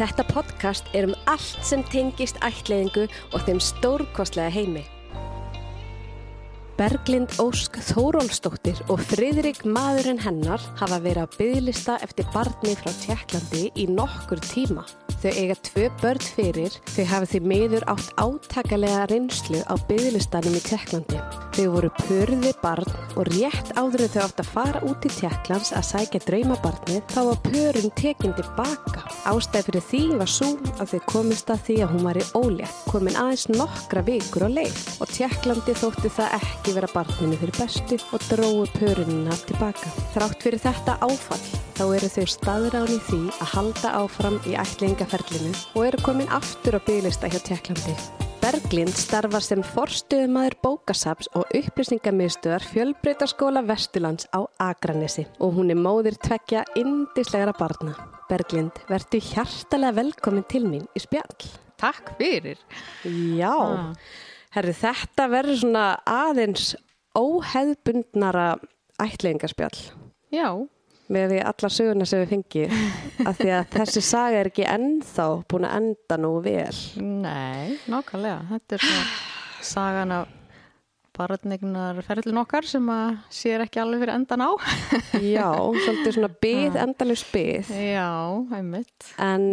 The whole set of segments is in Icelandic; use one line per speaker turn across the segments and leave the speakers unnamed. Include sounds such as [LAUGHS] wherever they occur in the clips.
Þetta podcast er um allt sem tengist ættleiðingu og þeim stórkostlega heimi. Berglind Ósk Þórólsdóttir og Friðrik maðurinn hennar hafa verið á byggðlista eftir barni frá Tjekklandi í nokkur tíma. Þau eiga tvö börn fyrir, þau hafa því miður átt átakalega reynslu á byggðlistanum í Tjekklandi. Þau voru pörði barn og rétt áður en þau átt að fara út í Tjekklands að sækja draumabarnið þá var pörun tekin tilbaka. Ástæð fyrir því var svo að þau komist að því að hún var í ólétt, komin aðeins nokkra vikur á leið og Tjekklandi þótti það ekki vera barninu fyrir bestu og dróðu pörunina tilbaka. Þrátt fyrir þetta áfall þá eru þau staðrán í því að halda áfram í ætlingaferlinu og eru komin aftur á bygglista hjá Tjekklandi. Berglind starfar sem forstuðumæður bókasaps og upplýsingamiðstöðar Fjölbreytaskóla Vesturlands á Akranesi og hún er móðir tvekja indislegara barna. Berglind, verðu hjartalega velkomin til mín í spjall.
Takk fyrir.
Já,
Ah.
herru þetta verður svona aðeins óheðbundnara ætlingarspjall
Já,
með því alla söguna sem við
[LAUGHS]
fengið af því að þessi saga er ekki ennþá búin að enda nú vel.
nei, nákvæmlega. Þetta er svona [SIGHS] sagan af barnegnar ferðlun okkar sem að sér ekki alveg fyrir endan á.
Já, [LAUGHS] svolítið svona byð, endalus byð.
[LAUGHS] Já, einmitt.
En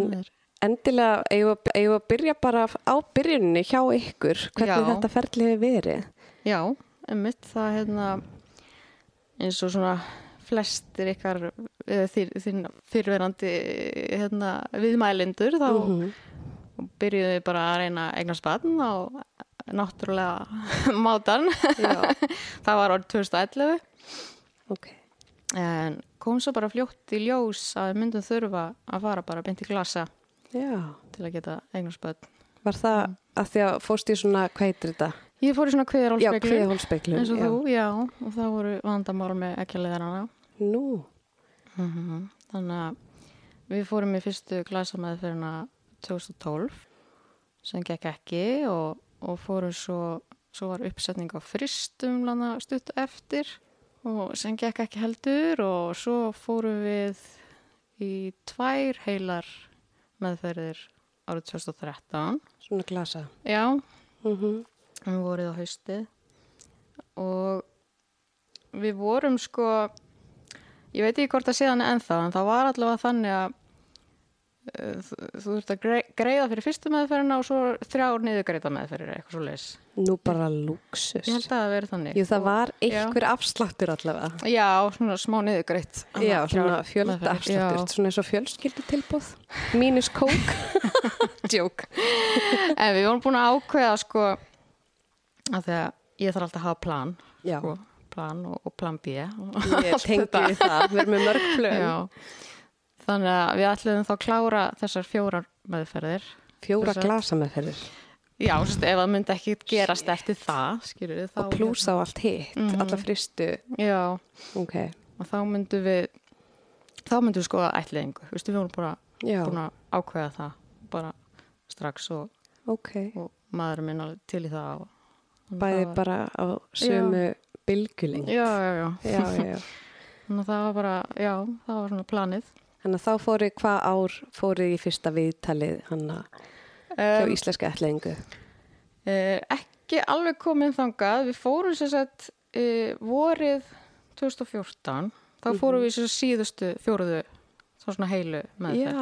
endilega eigum við- eigum við að byrja bara á byrjunni hjá ykkur, hvernig
Já.
þetta ferli hefur verið.
Já, einmitt. Það er hérna eins og svona flestir ykkar eða þín, þín fyrirverandi hérna, viðmælindur þá
Mhm.
[LAUGHS] byrjuðum við bara að reyna að eignast barn á náttúrulega [LAUGHS] mátan.
Já.
[LAUGHS] það var orð 2011.
Ok,
en kom svo bara fljótt í ljós að við myndum þurfa að fara bara beint í glasa
já.
til að geta eignarsböld.
Var það að því að fórst í svona, hvað heitir þetta?
Ég fór í svona
Já,
kveðarálspeglun
kviðhólspeglun.
eins og þú, já, og það voru vandamál með ekki að leiðarana.
Nú,
Mhm. Þannig að við fórum í fyrstu glasamæðferðina 2012 sem gekk ekki og, og fórum svo, svo var uppsetning á fristum lana stutt eftir og sem gekk ekki heldur og svo fórum við í tvær heilar meðferðir árið 2013
svona glasa.
já,
Mm
um vorið á haustið og við vorum sko ég veit ekki hvort að sé hann ennþá en það var allavega þannig að eh, þú, þú þurft að grei- greiða fyrir fyrstu meðferðina og svo þrjár niðurgreita meðferðir eitthvað svo leis
Nú bara lúksus.
ég held að það veri þannig
Jú, það var
Já.
einhver afsláttur allavega.
já, svona smá niðurgreitt
Já,
Þrjár
svona fjölda
meðferðir. Já.
afsláttur, svona eins og fjölskyldu tilbúð. Mínus
[LAUGHS]
kók.
Djók. [LAUGHS] en við vorum búin að ákveða sko að því að ég þarf alltaf að hafa plan
Já.
sko, plan og, og plan B og
Ég
allt
tengi
þetta.
við það, við erum með mörg plöðum.
Já. Þannig að við ætluðum þá að klára þessar fjórar meðferðir.
Fjóra
Þessar-
glasa með fyrir.
Já, þú veist, ef það myndi ekki gerast eftir það, skilur við þá. hérna. Mhm.
og plús á allt hitt, alla fristu
Já,
ok,
og þá myndum við, þá myndum við skoða ætliðingu. Þú veist, við vorum bara
já,
búin að ákveða það, bara strax og,
ok
og maður minn alveg til í það. Og,
bæði
það var-
bara á sömu bylgjuling
Já, já, já.
já, já, já.
Þannig að það var bara, já, það var svona planið.
þannig að þá fórið hvað ár fórið í fyrsta viðtalið hanna
Um, Ehm,
hjá íslenska ætlingu
Eh, ekki alveg komin þangað, við fórum sem sagt eh, vorið 2014, þá
Mhm.
fórum við sem sagt síðustu fjóruðu, þá svona heilu með þetta.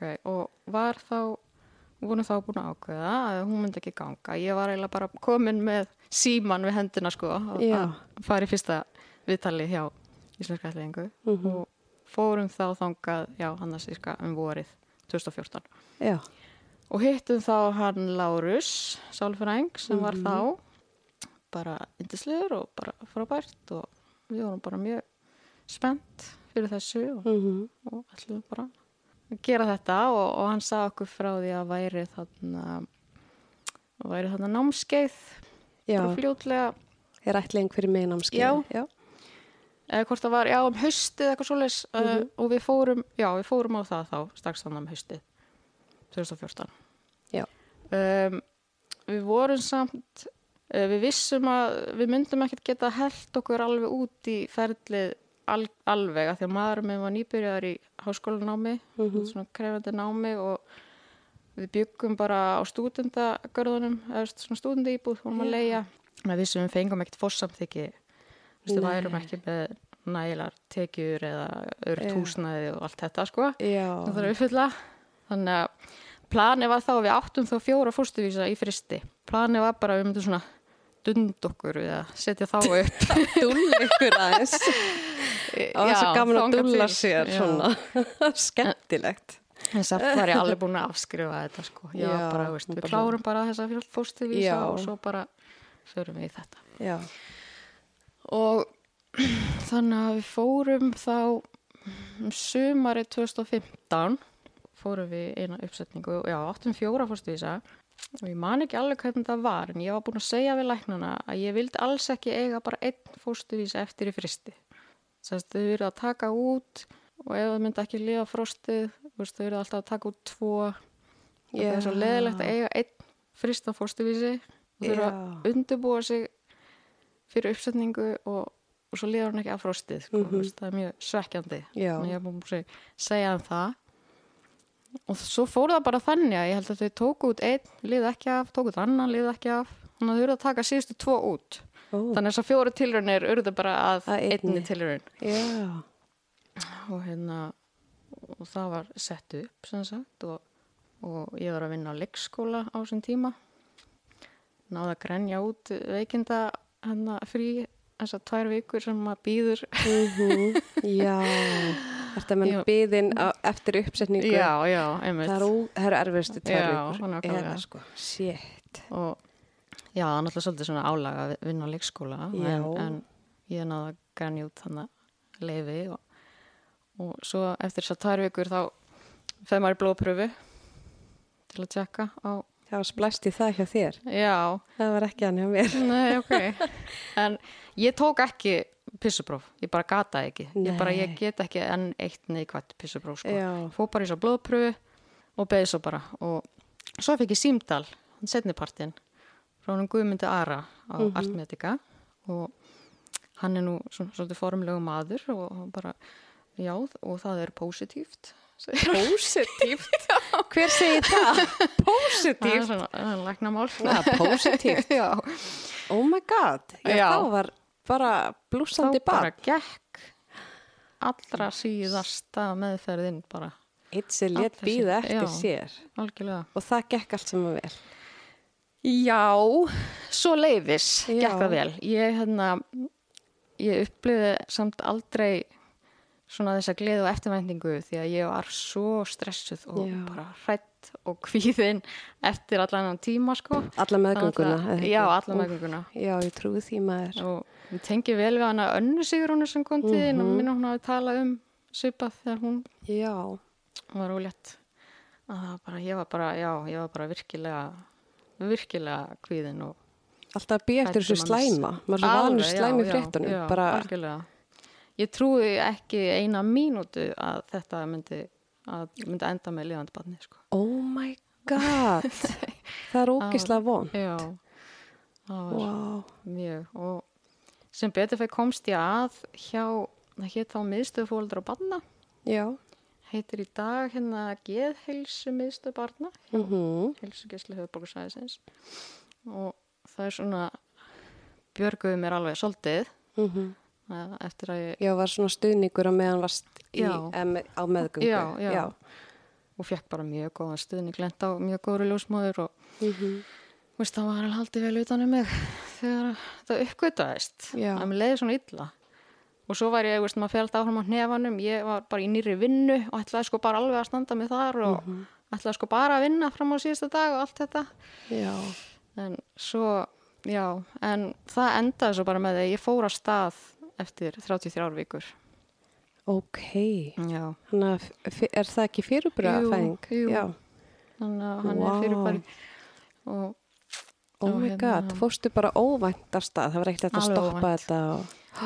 já,
og var þá, við vorum þá búin að ákveða að hún myndi ekki ganga. Ég var eiginlega bara komin með síman við hendina sko, að-
Já.
að fara í fyrsta viðtalið hjá Íslenska ætlingu
Mhm.
og fórum þá þangað, já, hann að síska um vorið 2014
já,
og hittum þá hann Lárus Sálfræng sem var þá bara yndislegur og bara frábært og við vorum bara mjög spennt fyrir þessu og,
mm
og ætlum bara að gera þetta og, og hann sagði okkur frá því að væri þarna væri þarna námskeið
já
bara fljótlega
er ætling fyrir mig námskeið
Já.
já,
eða hvort það var, já, um haustið eitthvað svoleiðis uh, og við fórum, já, við fórum á það þá, strax þannig um haustið 2014
já,
um, við vorum samt eh, uh, við vissum að við myndum ekkert geta held okkur alveg út í ferlið al, alveg að því að maður minn var nýbyrjaðar í háskólanámi svona krefandi námi og við byggum bara á stúdendagörðunum eða svona stúdendaýbúð vorum að leia við vissum við fengum ekkert fórsamþyggi við
Nei.
værum ekki með nægilar tekjur eða örugt húsnæði og allt þetta sko
Já.
sem þarf að uppfylla þannig að planið var þá að við áttum þá fjóra fórstuvísa í fristi planið var bara að við myndum svona dund okkur við að setja þá upp
[LAUGHS] Dúll ykkur
[LAUGHS]
aðeins. Það var svo
Já,
gaman að
þangað
dúlla
til.
sér
Já.
svona. [LAUGHS] Skemmtilegt.
en samt var ég alveg búin að afskrifa þetta sko. já,
Já,
bara, veist, við
bara-
klárum bara þessa fjóra fórstuvísa
Já.
og svo bara förum við í þetta
Já.
og [CLEARS THROAT] þannig að við fórum þá um sumarið 2015 fórum við eina uppsetningu já, áttum fjóra fórstuvísa og ég man ekki alveg hvernig það var en ég var búin að segja við læknana að ég vildi alls ekki eiga bara einn fórstuvísa eftir í fristi þess að þau verið að taka út og ef þau myndi ekki lifa frostið þú veist, þau verið alltaf að taka út tvo yeah. það
Já.
er svo leðilegt að eiga einn frista fórstuvísi og þau eru að undirbúa sig fyrir uppsetningu og, og svo liður hann ekki af frostið sko, mm veist, það er mjög svekkjandi
Mhm. Já.
Þannig ég er búin að seg- segja um það og svo fór það bara þannig að ég held að þau tóku út einn liðu ekki af, tóku út annan liðu ekki af þannig að þau eru að taka síðustu tvo út
Ó.
þannig að þessar fjóru tilraunir urðu bara að
Að einni.
einni tilraun
Já.
og hérna og það var sett upp sem sagt og, og ég var að vinna á leikskóla á þessum tíma náði að grenja út veikinda hérna frí þessar tvær vikur sem maður býður
Mhm. Já. Þetta
Já.
menn byðin á, eftir uppsetningu.
já, já, einmitt
Það er, ó, það er erfiðustu tvær
Já,
vikur.
nákvæmlega.
Eða, sko. Shit.
og já, það er náttúrulega svolítið svona álag að vinna á leikskóla
Já.
en, en ég náði að grænja út þannig leifi og, og svo eftir þessar tvær vikur þá feð maður í blóðpröfu til að tjekka á,
Það var splæst í það hjá þér.
já
Það var ekki hann hjá mér.
Nei, ok. [LAUGHS] En ég tók ekki pissupróf, ég bara gataði ekki. Ég bara,
Nei.
ég get ekki enn eitt neikvætt pissupróf, sko.
Já.
Ég Fó bara í svo blóðpröfu og beði svo bara. Og svo fikk ég símdal, hann setnipartin, frá hann Guðmundi Ara á mm Artmedika og hann er nú svona svolítið formlegu maður og hann bara, já, og það er positíft. [LAUGHS]
Pósitíft. Hver segir það?
Það er
Pósitíft.
svona, það er læknamál.
Það er pósitíft.
[LAUGHS] Já.
Oh my god, já,
Já.
þá var bara blúsandi
þá bara
barn.
gekk allra síðasta meðferðin bara
Eitt sem létt
Allir
býða eftir
sem- já.
sér
algjörlega
og það gekk allt sem að vel.
Já, svo leiðis
Já.
gekk það vel ég, hérna, ég upplifði samt aldrei svona þessa gleði og eftirvæntingu því að ég var svo stressuð og
Já.
bara hrætt og kvíðin eftir allan þennan tíma sko.
Alla meðgönguna.
Þannig
eða
að-
ekki?
Já, alla meðgönguna
Já, ég trúi því maður.
og ég tengi vel við hana önnu Sigrúnu sem kom til þín og minna hún hafi talað um svipað þegar hún
Já,
var ólétt að það var bara, ég var bara, já, ég var bara virkilega, virkilega kvíðin og
alltaf býð eftir þessu
hrædd um að miss-
slæma. Maður er svo vanur
Alveg, já,
slæmi
já,
fréttunum.
já,
bara,
algjörlega. Ég trúi ekki eina mínútu að þetta myndi, að myndi enda með lifandi barni, sko.
oh my god,
[LAUGHS]
það er ógislega von.
Já, það var
Wow.
mjög og sem betur fyrir komst ég að hjá, það hétt þá miðstöð fólaldra og barna,
Já,
heitir í dag hérna geðheilsu miðstöð barna,
mm
heilsugeslu höfuborgarsæðisins og það er svona björguðu mér alveg svolítið eh, eftir að ég
mhm. já, var svona stuðningur á meðan varst í,
Já.
em, á meðgöngu.
Já, já. og fekk bara mjög góðan stuðning lent á mjög góðri ljósmóður og
Mhm.
veist, það var alveg haldið vel utan um mig [LAUGHS] þegar það uppgötaðist
Já.
að mér leiði svona illa og svo var ég, veist, maður fjald áhrum á hnefanum ég var bara í nýri vinnu og ætlaði sko bara alveg að standa mig þar og ætlaði sko bara að vinna fram á síðasta dag og allt þetta
já.
En svo, já, en það endaði svo bara með því að ég fór að stað eftir 33 vikur.
Ok,
Já.
þannig að f- er það ekki fyrirbröðafæðing?
Jú, jú.
Já,
Þannig að hann
Vá.
er fyrir bara og
oh
Og
my
hérna-
god, fórstu bara óvænt af stað, það var ekkert hægt að
Alveg
stoppa
óvænt.
þetta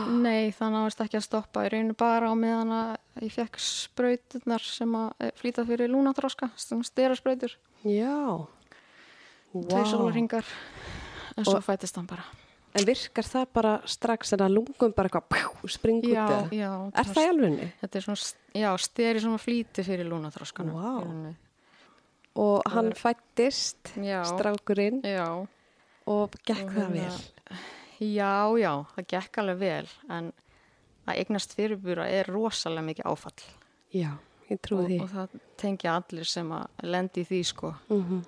og...
nei, það náðist ekki að stoppa. Ég reyni bara á meðan að ég fekk sprauturnar sem að eh, flýta fyrir lúnatróska, stera sprautur,
Já,
wow. tveir sólaringar, en svo fættist hann bara.
En virkar það bara strax en að lungum bara eitthvað pjú, springa út
Já,
eða?
já.
Er það í alvegni?
Þetta er svona, st- já, steri svona flýti fyrir lúnaþroskanum.
Vá.
í rauninni.
Og hann fættist,
Já.
strákurinn,
Já,
og gekk
Og
það
hérna-
vel.
já, já, það gekk alveg vel, en að eignast fyrirbúra er rosalega mikið áfall.
Já, ég trúi
Og,
því.
og það tengja allir sem að lendi í því, sko.
Mm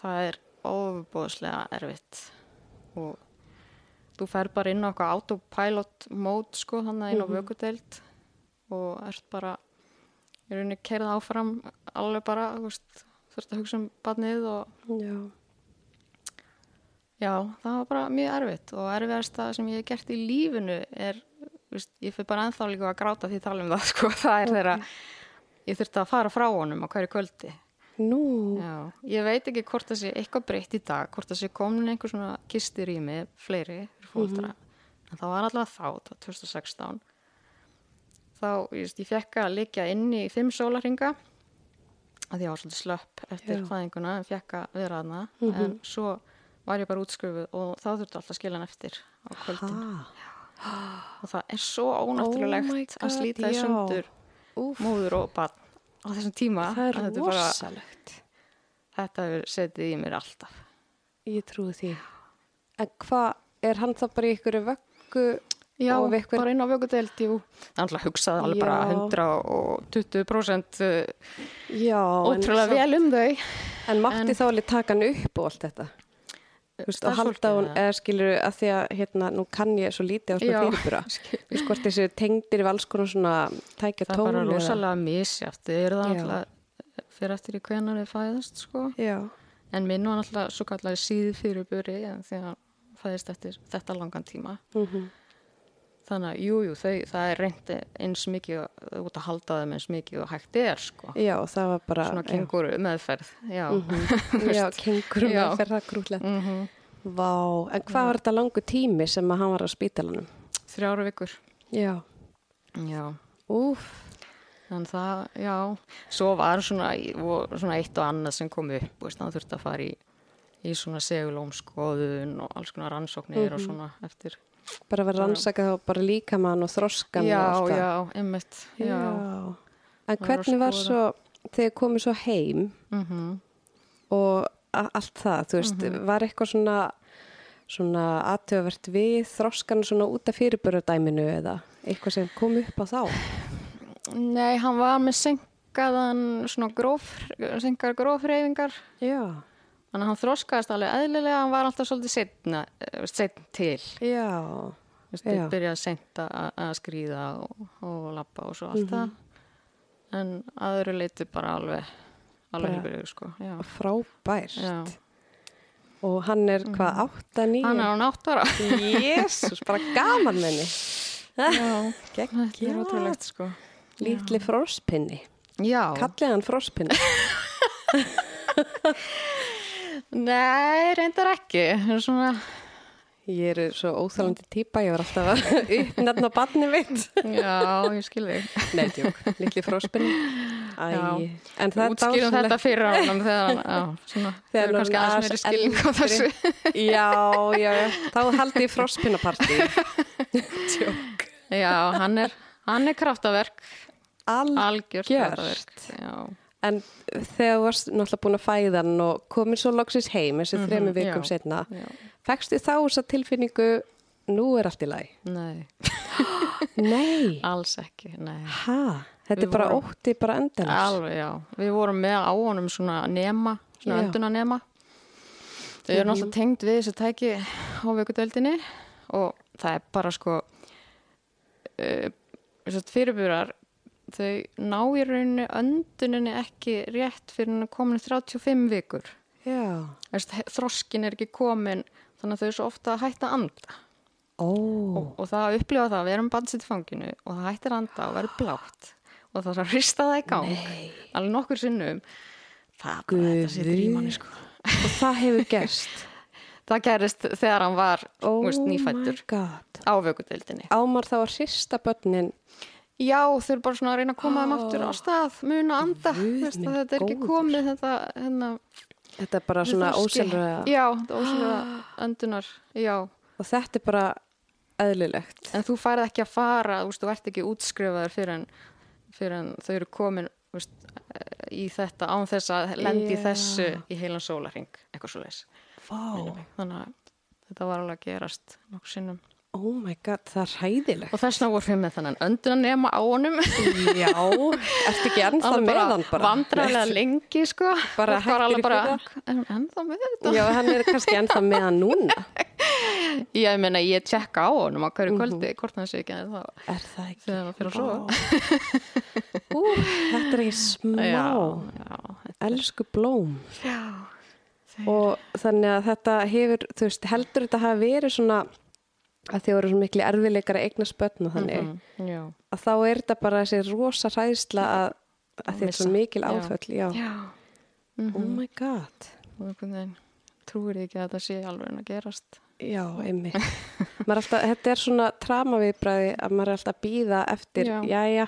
Það er ofubóðslega erfitt. Og þú fer bara inn á eitthvað autopilot mót, sko, þannig að inn á
Mhm.
vökudeild og ert bara, í rauninni keirað áfram alveg bara, þú veist, þurft að hugsa um barnið og
Já,
Já, það var bara mjög erfitt og erfiðast það sem ég hef gert í lífinu er, viðst, ég fyrir bara ennþá líka að gráta því að tala um það, [LAUGHS] sko, það er þeirra, ég þurfti að fara frá honum á hverju kvöldi.
nú,
Já, ég veit ekki hvort það sé eitthvað breytt í dag, hvort það sé komin einhver svona kistir í mig, fleiri, fyrir
Mhm.
fólkdra, en það var alltaf þá, það var 2016, þá, viðst, ég fekk að liggja inn í fimm sólarhinga, að því ég var svolítið slöpp eftir
Já. Mhm.
fæðinguna en fekk að vera aðna en svo var ég bara útskrifuð og þá þurfti alltaf að skilja hann eftir á kvöldin
hæ,
og það er svo
Oh my
ónáttúrulegt
God,
að slíta í
já.
sundur
úf,
móður og barn á þessum tíma
það er
Þetta bara-
rosalegt.
þetta hefur setið í mér alltaf
Ég trúi því. En hvað, er hann þá bara í ykkur vöggu
Já,
og við ykkur?
bara inn á vöggudeld, jú. Það er alltaf hugsaði alveg bara
Já.
120% uh,
Já, en
ótrúlega
samt-
vel um þau.
En mátti þá alveg taka hann upp og allt þetta? Þú Veist, og halda
Starfsfólkið
hún,
eða?
eða skilur að því að hérna, nú kann ég svo lítið á svona
Já,
fyrirbúra.
[LAUGHS] skil.
Þú veist hvort þessi tengdir við alls konar svona tækja
Það er
tónu.
bara rosalega misjátt. Þau eru það
Já.
alltaf fyrir eftir í hvenar þau fæðast, sko.
Já,
En minn var náttúrulega svo kallar síð fyrir buri því að hann fæðist eftir þetta langan tíma.
Mhm.
Þannig að jú, jú, þau, það er reyndi eins mikið og- eh, út að halda þeim eins mikið og hægt er, sko.
já, það var bara...
Svona kenguru meðferð, já. [LAUGHS] Mhm.
Mhm. Já, kengur með
Já. Mm.
að ferða grúlega. Vá, en hvað var þetta langu tími sem að hann var á spítalanum?
Þrjára vikur.
Já,
Já.
úf,
Þannig það, já. Svo var svona, og svona eitt og annað sem kom upp, veist, hann þurfti að fara í, í svona segulómskoðun og alls konar rannsóknir og svona eftir.
bara verið rannsakað og bara líkamann og þroskan og
Já,
allt það.
já, emmitt, já.
Já. En
að
hvernig var
skoða.
svo, þegar komið svo heim
Mhm.
og a- allt það, þú veist, var eitthvað svona, svona aðtöfavert við þroskan svona út af fyrirbörðardæminu eða eitthvað sem kom upp á þá?
Nei, hann var með senkaðan svona gróf, senkaðar grófreyfingar
Já.
þannig að hann þroskaðist alveg eðlilega hann var alltaf svolítið setna, setn til
Já.
Vist,
Já.
byrjaði seint að að skríða og, og lappa og svo
Mhm.
allt það en aðru leiti bara alveg alveg
Bara-
helbriðu sko já.
Frábært.
Já. Mhm.
Og hann er hvað, átta, nýja?
hann er á náttúra
Jésús, bara gaman menni.
[LAUGHS] já, þetta er
Geggjað.
ótrúlegt sko
Lítli fróspinni.
já,
Kallið hann fróspinni.
nei, reyndar ekki En svona,
[LAUGHS] Ég er svo óþálandi típa, ég var alltaf að [LAUGHS] uppnefna barni mitt.
já, ég skil þig
Nei, djók, litli fróspinni. Æ,
Já.
en það er
útskýrum þetta fyrir ánum þegar hann, já, svona,
Þegar
þegar
hann
kannski
er
aðeins
aðeins
meiri skilning á þessu.
eldri. Já, já, já. þá haldi ég fróspinnapartí. Tjók.
Já, hann er, hann er kraftaverk, algjört
Algjört.
kraftaverk. Já,
En þegar þú varst náttúrulega búin að fæða hann og komin svo loksins heim, þessi mm þremi vikum
Mhm, já,
setna,
já.
fegstu þá þessa tilfinningu, nú er allt í lagi.
nei,
Nei,
alls ekki, nei.
ha, þetta
Við
er bara
vorum-
ótti bara endalins.
Alveg, já. Við vorum með á honum svona nema, svona
Já.
önduna nema. Þau eru náttúrulega tengd við þessu tæki á vökudeldinni og það er bara sko, uh, fyrirbúrar, þau ná í rauninu önduninni ekki rétt fyrir hann komin 35 vikur.
Já,
Þess, þroskin er ekki komin þannig að þau er svo ofta að hætta að anda
ó,
og, og það að upplifa það að við erum bandsitt fanginu og það hættir að anda og verður blátt og það þarf að hrista það í gang alveg nokkur sinnum það er Ah, bara þetta situr í
Guð.
manni sko
og það hefur gerst.
það gerist þegar hann var
Oh
[LAUGHS] þú veist,
my
nýfættur
god.
á vökudeildinni
Ámar þá að hrista börnin
já þau eru bara svona að reyna að koma þeim aftur á stað muna að anda
Guð
Þú veist,
minn
að þetta er ekki
góður.
komið þetta hérna,
Þetta er bara svona
þroski.
óselra
já, þetta ósælra öndunar já
og og þetta er bara eðlilegt
En þú færð ekki að fara, þú, veist, þú ert ekki útskrifaður fyrir en, fyrir en þau eru komin þú veist, í þetta án þess að lendi
Já.
yeah. þessu í heilan sólaring, eitthvað svo leis.
Vá,
Þannig að þetta var alveg að gerast nokkuð sinnum.
oh my god, það er hæðilegt
Og þessna voru við með þannig öndunan nema á honum.
Já, [LAUGHS] ertu ekki ennþá
Alveg
með hann bara
vandræðilega lengi, sko.
Bara
Fólk var
hættur í
alveg bara, er hún ennþá með þetta?
Já, hann er kannski ennþá með hann núna
Ég meina, ég tjekka á honum á hverju kvöldi, hvort hann sé ekki en þá.
Er það ekki?
Þegar hann fer að sofa.
Vá. Ú, þetta er ekki smá
[LAUGHS] já,
Elsku blóm
já.
og þannig að þetta hefur, þú veist, heldur þetta hafi verið svona að þið voru svona miklu erfileikar að eigna spötn og þannig
Mhm. Já.
að þá er þetta bara þessi rosa hræðsla að, að þetta er svo
missa.
mikil
Já.
áföll, já.
Já. Mhm.
Oh my god.
og einhvern veginn trúir því ekki að þetta sé alveg en að gerast
Já,
[LAUGHS]
einmitt. Maður er alltaf, þetta er svona tramaviðbræði að maður er alltaf að býða eftir,
Já.
jæja,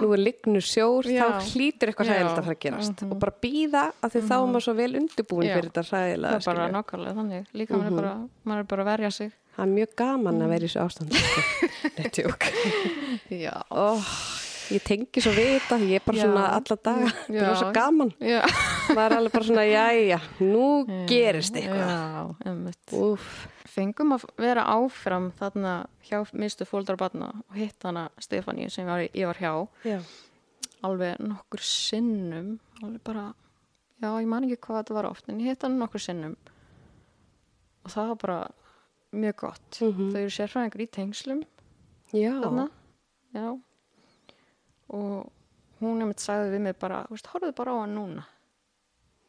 nú er lignur sjór,
Já.
þá hlýtur eitthvað
Já. Mhm.
hræðilegt að fara að gerast. Og bara býða að því þá er maður svo vel undirbúin
Já.
fyrir þetta
það
hræðilega.
er bara
skilurðu.
nákvæmlega þannig líka mm er bara, maður er bara að verja sig
Það er mjög gaman
Mhm.
að vera í þessu sko. ástand.
[LAUGHS]
Nettjók.
já,
Oh, ég tengi svo við þetta, ég er bara
Já.
svona alla daga, það
Já.
er svo gaman.
já,
Maður er alveg bara svona, jæja, nú gerist eitthvað.
já einmitt.
Úf,
fengum að vera áfram þarna hjá mistu fóldar barna og hitt hana Stefáníu sem var, ég var hjá
já.
alveg nokkur sinnum alveg bara, já ég man ekki hvað þetta var oft en ég hitt hana nokkur sinnum og það var bara mjög gott, þau eru sérfræðingur í tengslum
Mhm. Já,
þarna já. og hún nefnt sagði við mig bara þú veist, horfðu bara á hann núna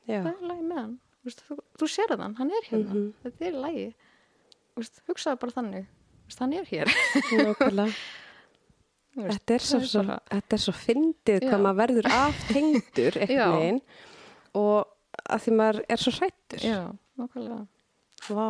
já. Mhm.
það er lægi með hann þú, veist, þú, þú sérð hann, hann er hérna þetta er lægi veist, hugsaðu bara þannig Þú veist, hann er hér
Nákvæmlega.
Þú veist,
Þetta er svo,
það er
svo,
bara-
þetta er svo fyndið
Já.
hvað maður verður aftengdur
Já.
einhvern veginn og að því maður er svo hrættur.
já, nákvæmlega
Vá.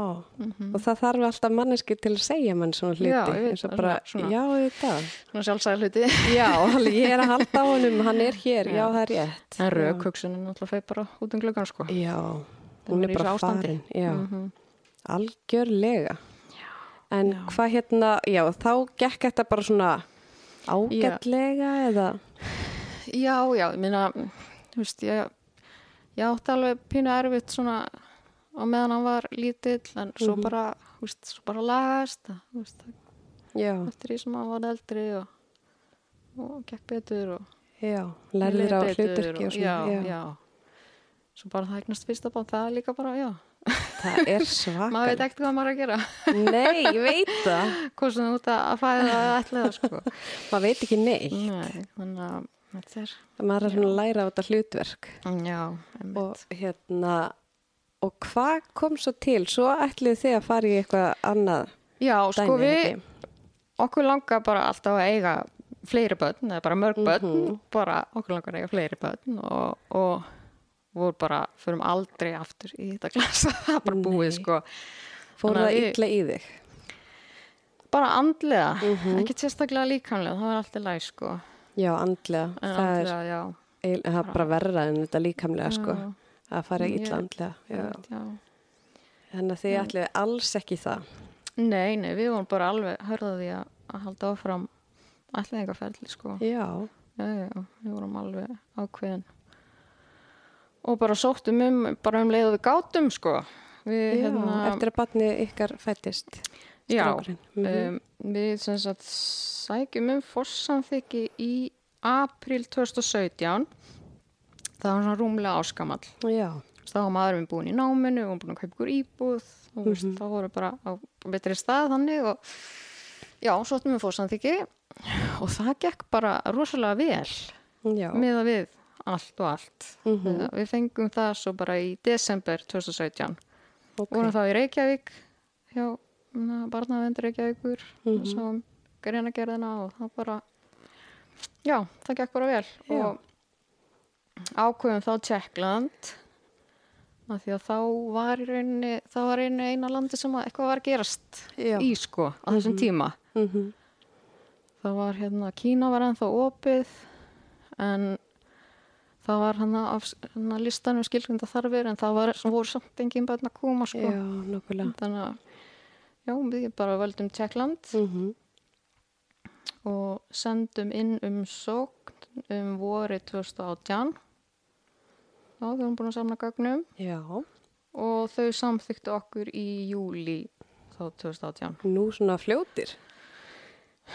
Og það þarf alltaf manneski til að segja mann svona hluti.
Já, ég veit,
eins og
svona-
bara,
svona.
Já, þetta.
svona sjálfsæði hluti
Já, [LAUGHS] alveg, ég er að halda á honum, hann er hér, já, það er rétt.
en raukhugsunin náttúrulega feir bara út um glöggan sko
Já,
Hún
hún
er í
er bara
þessu ástandi. Mhm.
farin. Já, algjörlega. En
Já.
hvað hérna, já, þá gekk þetta bara svona ágætlega eða?
já, já, ég meina þú veist, ég, ég átti alveg pínu erfitt svona á meðan hann var lítill en svo
Mhm.
bara, þú veist, svo bara lagast það, þú veist, það
Já,
eftir því sem hann var eldri og, og gekk betur og
já, lærður á
leið betur
hluturki og svona.
já, já. svo bara það eignast fyrsta bán það er líka bara, já,
Það er svakar.
maður veit ekkert hvað maður er að gera [LAUGHS]
Nei, ég veit það.
hvað sem þú út að fæða það allir það sko
Maður veit ekki nei.
Nei, þannig að þetta er
Maður er svona að læra á þetta hlutverk.
já, Mm. einmitt.
Og hérna, og hvað kom svo til? Svo ætlið þið að fara í eitthvað annað
já, sko
dæmi.
við
ekki?
okkur langar bara alltaf að eiga fleiri börn, eða bara mörg börn
Mhm.
bara okkur langar að eiga fleiri börn og, og voru bara förum aldrei aftur í þetta glasa [LAUGHS] það er bara búið sko
Fór
Þannig að
það
við-
illa í þig?
bara andlega,
Mhm.
ekki sérstaklega líkamlega það var alltaf læg sko
Já, andlega.
en
það er
andlega, já,
eiginlega- það er bara verra en þetta líkamlega, sko. Að fara
Ég-
illa andlega. Já.
einmitt, já
Þannig að þið ætlið alls ekki það.
nei, nei, við vorum bara alveg hörðaði að, að halda áfram ætlaðingarferðli sko
Já,
já, já, já, við vorum alveg ákveðin og bara sóttum um bara um leið og við gátum sko við
já
hérna
eftir að batni ykkar fættist.
já,
strákurinn. Mhm.
um, við sem sagt sækjum um fórsamþyggi í april 2017 það var svona rúmlega áskamall
Já,
þá var maður minn búin í náminu og búin að kaupa ykkur íbúð og mm
Mhm.
-hmm. þá voru bara á betri stað þannig og já, sóttum við fórsamþyggi og það gekk bara rosalega vel
já. Mhm.
miða við allt og allt Þegar við fengum það svo bara í desember 2017
Ok.
vorum þá í Reykjavík hjá barnavendur Reykjavíkur mm
Mhm.
-hmm. svo greinagerðina og það bara já, það gekk bara vel
Já.
og ákveðum þá Tjekkland af því að þá var í rauninni þá var einu eina landi sem að eitthvað var að gerast
Já.
í sko á þessum tíma
Mm
það var hérna, Kína var ennþá opið en það var hann af hana, listanum skilgrunda þarfir en það var, voru samt engin börn að koma sko.
Já, nokkulega.
þannig að já, við bara völdum Tjekkland
Mm -hmm.
og sendum inn umsókn um vorið 2018 þá þau erum búin að samna gögnum
Já,
og þau samþyktu okkur í júli þá 2018
nú svona fljótir.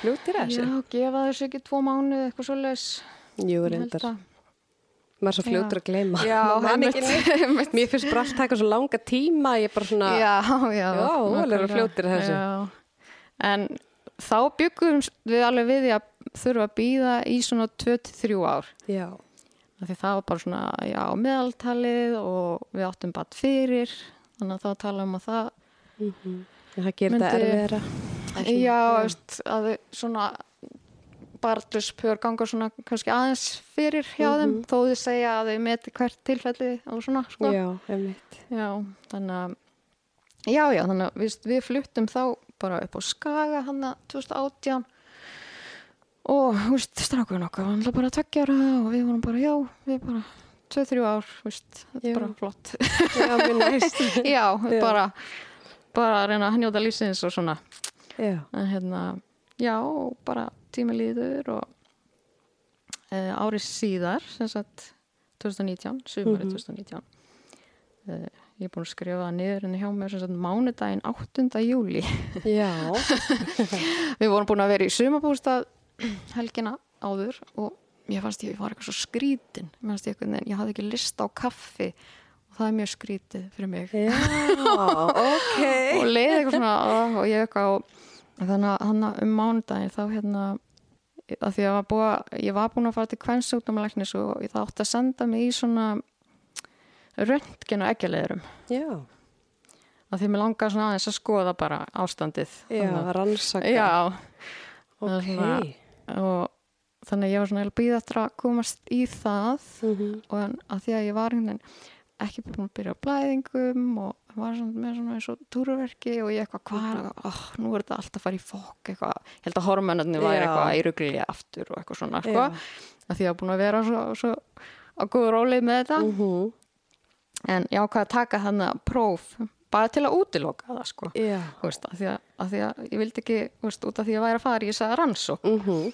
Fljótir að
Já,
þessu.
gefa þessu ekki tvo mánuð eitthvað svo les
Jú, reyndar. Maður er svo fljótur
Já.
að gleyma.
Já,
Maður man ekki neitt.
[LAUGHS] einmitt
Mér finnst bara allt taka svo langa tíma, ég er bara svona,
Já, já,
hérna- Já, óalega
nákvæmlega.
fljótir að þessu.
já. En þá byggum við alveg við því að þurfa að býða í svona 23 ár
já,
Af Því það var bara svona, já, meðaltalið og við áttum bara fyrir þannig að þá talaðum um að það
En það gerir þetta
Myndi-
erfiðara. Það er svona-
Já, veist, að þau svona barðuspjör ganga svona kannski aðeins fyrir hjá þeim þó þau segja að þau meti hvert tilfelli og svona, sko.
Mhm. Já, einmitt.
Já, þannig að já, já, þannig að við, við fluttum þá bara upp á Skaga hann að 2018 og þú veist, strákurinn okkar var náttúrulega bara tveggjara og við vorum bara, já, við bara 2-3 ár, þú veist, þetta
Já.
er bara
[LAUGHS]
flott
Já, mér næst.
já,
Já.
bara bara að reyna að njóta lífsins og svona
já,
en hérna, já, og bara tími líður og e, árið síðar sem sagt 2019, sumarið 2019 e, ég er búin að skrifa það niður en hjá mér sem sagt mánudaginn 8. júli
já,
[LAUGHS] við vorum búin að vera í sumabústað helgina áður og ég fannst ég, ég var eitthvað svo skrítin ég, fannst ég, einhvern veginn- ég hafði ekki list á kaffi og það er mjög skrítið fyrir mig
já, ok.
og leiði eitthvað svona "Ah", og ég eitthvað og þannig að hann um mánudaginn þá hérna að því að ég var búið, að- ég var búin að fara til kvennsjúkdómalæknis og það átti að senda mig í svona röntgen og ekkjaleðurum
Já,
að því að mér langaði svona aðeins að skoða bara ástandið
já, rannsaka.
já Það er
ok.
svona- og þannig að ég var svona eiginlega að býða eftir að komast í það
Mhm.
og en, að því að ég var einhvern veginn ekki búin að byrja á blæðingum og var svona með svona eins og túruverki og ég eitthvað hvað, er að- oh, nú er þetta alltaf að fara í fokk eitthvað, ég held að hormonarnir væri
Já.
eitthvað í ruglið aftur og eitthvað
Já.
svona sko. að því að ég var búin að vera svo, svo á góðu rólið með þetta
Mhm.
en ég ákvað að taka þannig próf bara til að útiloka það sko
Já,
Þú veist, að því að, að því að ég vildi ekki þú veist, út af því að ég væri að fara í þess að rannsók
mhm.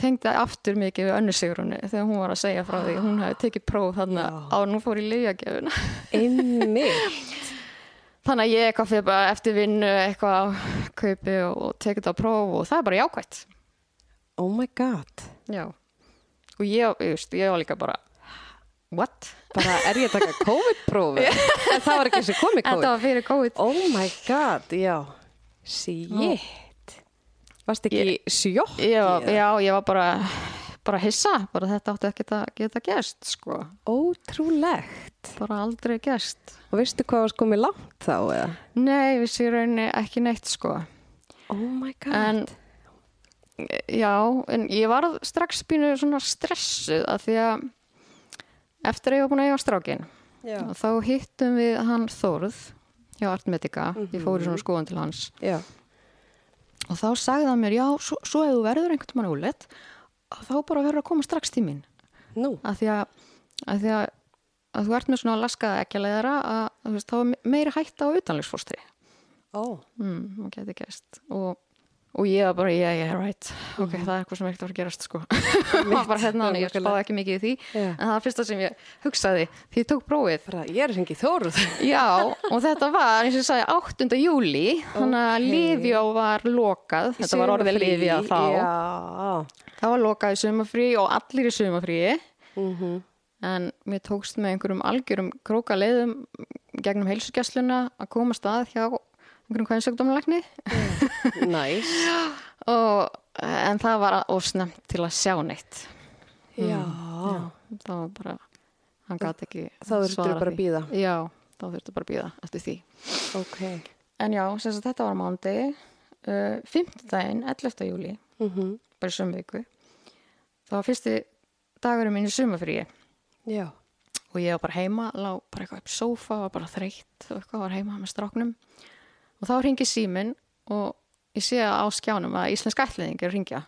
tengdi aftur mikið við önnu Sigrunni þegar hún var að segja frá því, hún hefði tekið próf þannig
Já.
að hún fór í lyfjagjöfuna
Einmitt.
[LAUGHS] þannig að ég eitthvað fyrir bara eftir vinnu eitthvað á kaupi og, og tekið það próf og það er bara jákvætt
Oh my god.
já. og ég, ég, veist, ég var líka bara what?
Bara er ég að taka COVID-prófi? en það var ekki sem komið COVID.
Þetta var fyrir COVID
Oh my god, já. Shit. Varst ekki í sjokki?
ég, var- já, ég var bara bara hissa, bara þetta átti ekki að geta gerst sko,
Ótrúlegt.
bara aldrei gerst
Og veistu hvað var komið langt þá eða?
nei, við Sigrunni ekki neitt sko
Oh my god.
en já, en ég var strax býinu svona stressuð að því að eftir að ég var búin að eiga strákin
já.
þá hittum við hann Þórð hjá Artmedica, ég fór í svona skoðan til hans
Já.
og þá sagði hann mér, já, svo, svo ef þú verður einhvern mann úrleitt, þá bara verður að koma strax til mín,
Nú.
að því að, að, því að, að þú ert með svona laskaða ekki að leiðara að, að þú veist, þá er meira hætta á utanlegsfóstri
Ó.
mm, hún geti gæst og, og ég var bara, yeah, yeah, right ok, það er eitthvað sem ekkert var að
[LAUGHS]
gerast sko það var [LAUGHS] bara hérna, þannig,
Mhm.
ég
nákvæmlega.
spáði ekki mikið í því
Já.
en það var fyrsta sem ég hugsaði því ég tók prófið
Bara, ég er hengið [LAUGHS] þóruð.
já, og þetta var, eins og ég sagði 8. júli, þannig að
Ókei.
Livjá var lokað, þetta var orðið Livjá þá
Já.
það var lokað í sumafrí og allir í sumafrí
Mm -hmm.
en mér tókst með einhverjum algjörum króka leiðum gegnum heilsugjastluna að koma stað hjá einhverjum kvænsökdómalækni
Næs.
og, en það var ósnemt til að sjá neitt
[LAUGHS] Já.
það var bara, hann gæti ekki
Þá þurftirðu
svarað
bara að
því.
bíða.
já, þá þurftu bara að býða eftir því
Ok.
en já, sem sagt þetta var mándegi uh, 5. daginn, 11. júli
Mm
bara í sömu viku það var fyrsti dagurinn minn í sumafríi
Já.
og ég var bara heima, lá bara eitthvað upp í sófa var bara þreytt og eitthvað var heima með stráknum og þá ringi síminn og ég sé á skjánum að íslensk ætliðing er að ringja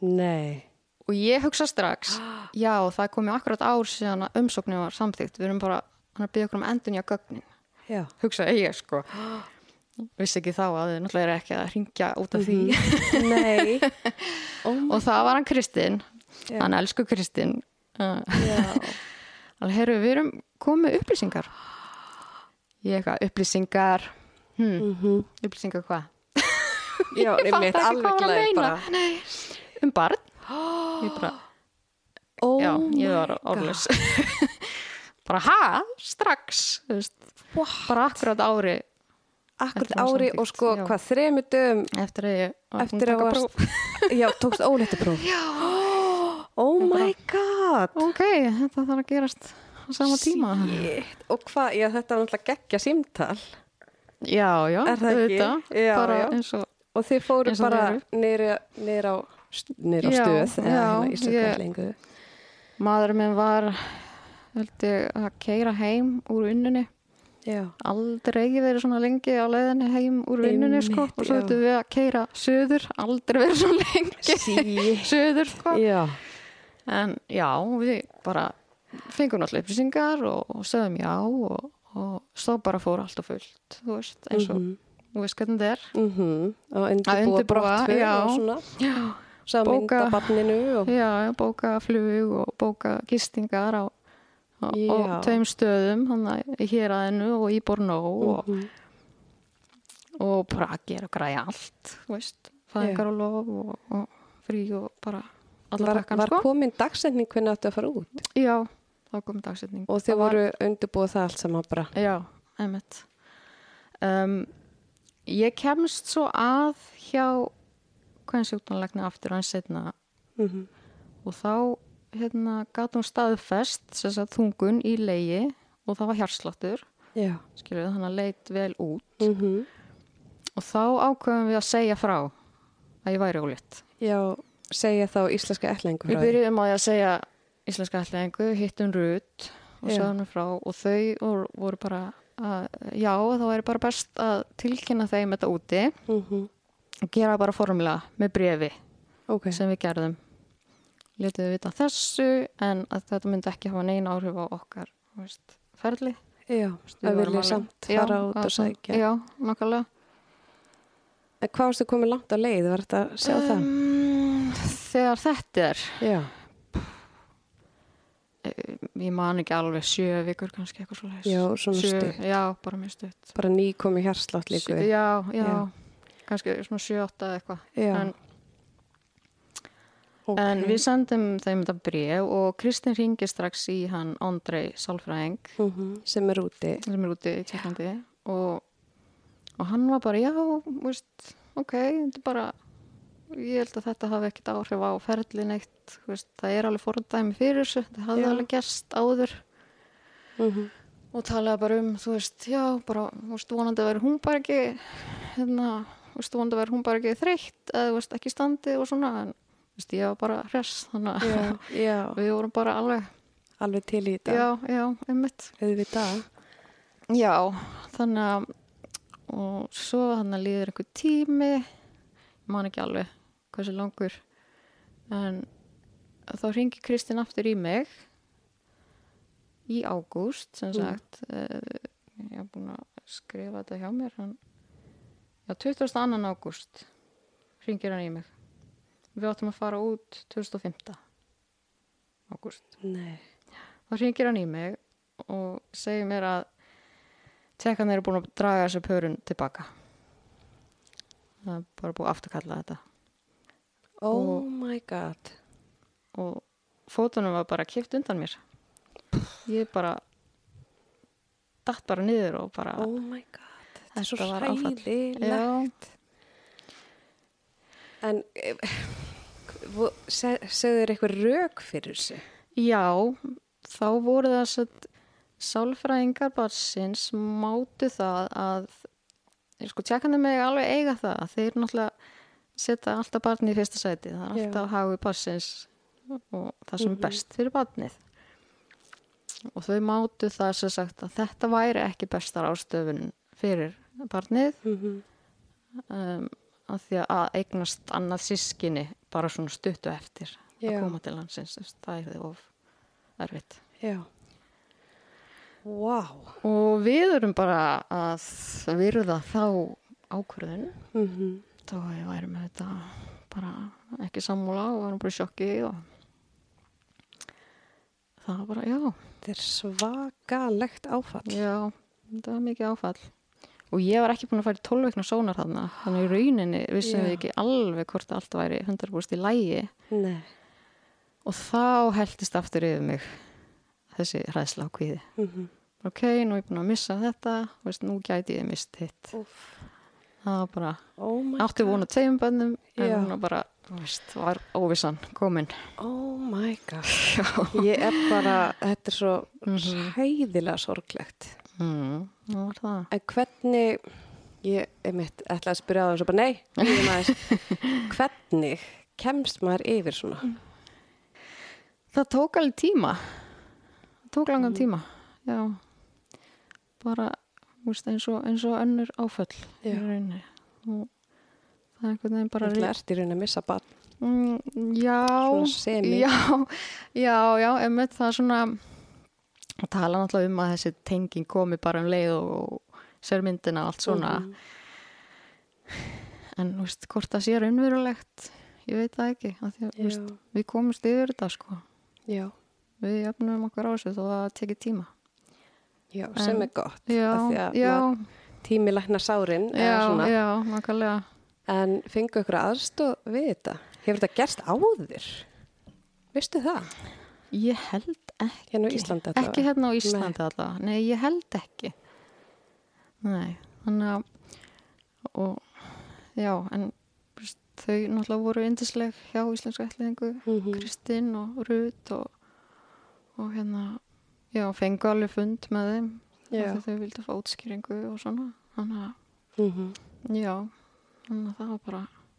Nei.
Og ég hugsa strax,
[GASPS]
já, það komið akkurat ár síðan að umsóknin var samþygt. Við erum bara hann er að byggja okkur um endun í að gögnin.
Já.
Hugsaði ég, sko. vissi ekki þá að þau náttúrulega er ekki að ringja út af því
[GASPS] Nei. Oh my-
[LAUGHS] og það var hann Kristinn,
Já.
hann elsku Kristinn uh, [LAUGHS]
Já.
Alveg, heyrðu, við erum komið með upplýsingar. Ég eitthvað, upplýsingar, hmm,
Mhm.
upplýsingar hvað?
Já,
[LAUGHS] Ég fatt
einmitt,
ekki
alveg
hvað hún var að
glæð
meina.
bara.
Nei, um
[GASPS]
barn. Ég bara,
Oh
já, ég var
my
orðlaus.
God.
[LAUGHS] bara, ha, strax, þú veist, bara akkurat ári
Akkurat
Þetta var
ári
samþykkt,
og sko
já.
hvað þremu dögum
eftir að ég var búin
eftir að
taka
varst,
próf.
[LAUGHS] já, tókst óléttupróf. Já. Oh my god.
Ok, þetta þarf að gerast á sama tíma.
Shit. Og hvað, já þetta var náttúrulega geggja símtal
Já, já,
Er það ekki? Já,
bara
já.
eins og
og þið fóru
Eins og
bara
þau
niður niður á, niður á
Já,
stöð eða
já,
hérna í
ég-
stöðkvælingu.
maður minn var, held ég, að keira heim úr vinnunni.
Já.
aldrei verið svona lengi á leiðinni heim úr vinnunni sko
Einmitt,
og svo
já.
þetta við að keira söður aldrei verið svona lengi
Sí.
[LAUGHS] söður sko
Já.
en já, við bara fengum náttúrulega upplýsingar og, og sögum já og, og svo bara fór allt og fullt þú veist, eins
Mhm.
og, þú veist hvernig þetta er
Mm Og undirbúa
undirbúa,
brottför
já.
og svona.
já,
Sá mynda
Bóka-
barninu og
já, já, bóka flug og bóka gistingar á, á, og
Já.
tveim stöðum hann í héraðinu og í Bornó og
Mhm.
og bara að gera og græja allt þú veist, fæðingar og lof og, og frí og bara alla
var,
pakkan
var
sko
komin dagsetning hvernig áttu að fara út
já, þá kom dagsetning
og
Það
þið
var-
voru undirbúið það allt saman bara.
já, einmitt um, ég kemst svo að hjá hvernig sjúkdónlegna aftur hans setna
Mm
og þá hérna gat hún staðfest sem sagt þungun í leiði og það var hjarsláttur
Já.
skilur við, þannig að leit vel út
Mm
og þá ákveðum við að segja frá að ég væri ólétt
Já, segja þá íslenska ætlingu
Við
frá því.
byrjuðum á því að segja íslenska ætlingu, hittum Rut og
Já.
sagðum við frá og þau voru- voru bara að, já, þá er bara best að tilkynna þeim þetta úti
Mm
og gera það bara formulega með brefi
Ok,
sem við gerðum. Letum við vita af þessu en að þetta myndi ekki hafa neina áhrif á okkar þú veist, ferli.
já,
Við
að
vorum
vilja
alveg-
samt
Já,
fara út og
að-
sækja.
Já, nokkulega.
En hvað varstu komið langt á leið, var þetta að sjá það?
Um, þegar þetta er,
Já,
ég man ekki alveg sjö vikur kannski eitthvað svo
já, svona
Sjö,
stutt.
já, bara mjög stutt.
Bara ný komið hjarslátt líku.
Sjö- Já, já,
Já.
kannski svona 7-8 eða eitthvað.
Já,
En,
ok.
en við sendum þeim þetta bref og Kristinn ringi strax í hann Andrei Salfræðing
Mhm, Sem er úti.
sem er úti í Tjekklandi og, og hann var bara, já, veist, ok, þetta er bara, ég held að þetta hafi ekkert áhrif á ferlin eitt, veist, það er alveg fordæmi fyrir þessu, þetta hafði
Já.
alveg gerst áður
Mm
og talaði bara um, þú veist, já, bara, þú veist, vonandi verið hún bara ekki, hérna, þú veist, vonandi verið hún bara ekki þreytt eða, þú veist, ekki í standi og svona, en, þú veist, ég var bara hress, þannig að
Já, já,
[LAUGHS] við vorum bara alveg,
alveg til í þetta.
já, já, einmitt.
Auðvitað.
Já, þannig að, og svo þannig að líður einhver tími, ég man ekki alveg hversu langur, en þá ringi Kristinn aftur í mig í ágúst, sem sagt, mm. ég hef búin að skrifa þetta hjá mér, hann, já, 22. ágúst ringir hann í mig. Við áttum að fara út 2005. ágúst
Nei.
þá ringir hann í mig og segir mér að tjekkan eru búin að draga þessu pörun tilbaka það er bara búið að afturkalla þetta
Oh my god.
og fótunum var bara kipt undan mér ég bara datt bara niður og bara
Oh my god. Þetta er svo
Ah. Þetta var áfall.
hræðilegt.
já,
En eh, vo- se- segðu þér eitthvað rök fyrir þessu?
já, þá voru þess að sálfræðingar barsins mátu það að sko tjekkandi mig alveg eiga það að þeir náttúrulega setja alltaf barni í fyrsta sæti það er
Já.
alltaf hagu barsins og það sem er best fyrir barnið og þau mátu það sem sagt að þetta væri ekki bestar ástöfun fyrir barnið um, að því að eignast annað sískinni bara svona stuttu eftir
Já.
að koma til landsins þú veist, það er þið of erfitt
Já. Vá.
og við erum bara að virða þá ákvörðun
Mm -hmm.
þá við værum með þetta bara ekki sammúla og varum bara í sjokki og það var bara, já,
Þetta er svakalegt áfall.
já, þetta var mikið áfall. Og ég var ekki búin að fara í 12 veikna sónar þarna, þannig í rauninni vissum við
Já.
ekki alveg hvort allt væri 100% í lægi
Nei.
og þá heldist aftur yfir mig þessi hræðsla á kvíði.
Mm -hmm.
Ok, nú er ég búin að missa þetta, þú veist, nú gæti ég mist hitt. Það var bara,
Oh my
átti
god.
vona tveim bönnum, en
Já.
hún var bara, þú veist, var óvissan komin.
Oh my
[LAUGHS]
god. Ég er bara, þetta er svo
Mhm.
hæðilega sorglegt.
Mm, það var það.
En hvernig, ég er mitt, ætla að spyrja það og svo bara nei, ég maður,
[LAUGHS]
hvernig kemst maður yfir svona?
Mm, Það tók alveg tíma. Það tók langan
Mm.
tíma. Já. Bara, þú veist, eins og, eins og önnur áföll í
Já.
rauninni. Og það er einhvern veginn bara...
Þú ert í rauninni að missa barn.
Mm, já.
Svona semi.
Já, já, já, emmitt það er svona... Að tala náttúrulega um að þessi tenging komi bara um leið og sér myndina og allt svona.
Mhm.
En, þú veist, hvort það sé raunverulegt, ég veit það ekki. af Því, að, þú veist,
Já.
við komumst yfir þetta, sko.
Já,
Við jafnum okkur á þessu þó að það tekið tíma.
já, sem
En-
er gott.
Já,
af því að
já,
maður- Tími lækna sárin, eða
já,
svona.
já, makkarlega.
En fengu ykkur aðstóð við þetta? Hefur þetta gerst áður? Vistu það?
Ég held ekki.
Hérna á Íslandi allavega.
Ekki hérna á Íslandi allavega. Nei, ég held ekki. Nei, þannig að, og, já, en þú veist, þau náttúrulega voru yndisleg hjá íslensku ætliðingu,
Mhm.
Kristinn og Rut og, og hérna, já, fengu alveg fund með þeim.
Já.
af því Þau vildi fá útskýringu og svona, þannig að,
Mm
já, þannig að það var bara, [LAUGHS]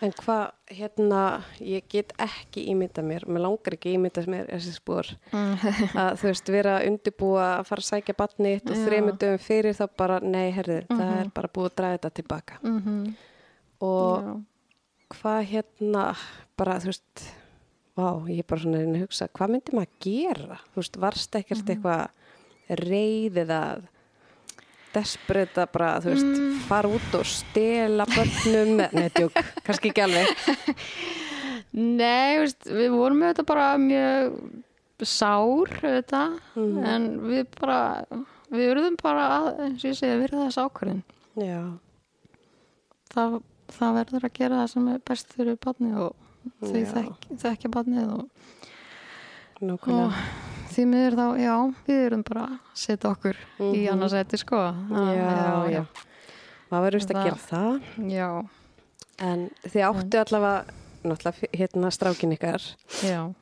En hvað, hérna, ég get ekki ímynda mér, mér langar ekki ímynda mér þessi
[LAUGHS]
spór, að þú veist, vera að undirbúa að fara að sækja batnið og
Já. Mhm.
þremur dögum fyrir þá bara, nei, herðu, það er bara búið að draga þetta tilbaka.
mm -hmm,
Og
já.
hvað hérna, bara, þú veist, vá, ég er bara svona að reyna að hugsa, hvað myndi maður að gera? Þú veist, varst ekkert
Mhm.
eitthvað reyðið að desperita bara, þú veist,
Mm.
fara út og stela börnum, nei, djók, kannski ekki alveg.
[LAUGHS] Nei, veist, við vorum auðvitað bara mjög sár auðvitað,
Mhm.
en við bara, við urðum bara að, eins og ég segi, verða þess ákvörðin.
Já,
Það, það verður að gera það sem er best fyrir barnið og þau
Já.
þekk, þekkja barnið og,
nákvæmlega.
og því miður þá, já, við urðum bara að setja okkur í annarsæti, sko. Það-
Mhm. já, já. Maður verður vist að
Það-
gera það.
Já,
En þið áttu allavega, náttúrulega, hérna strákin ykkar,
já.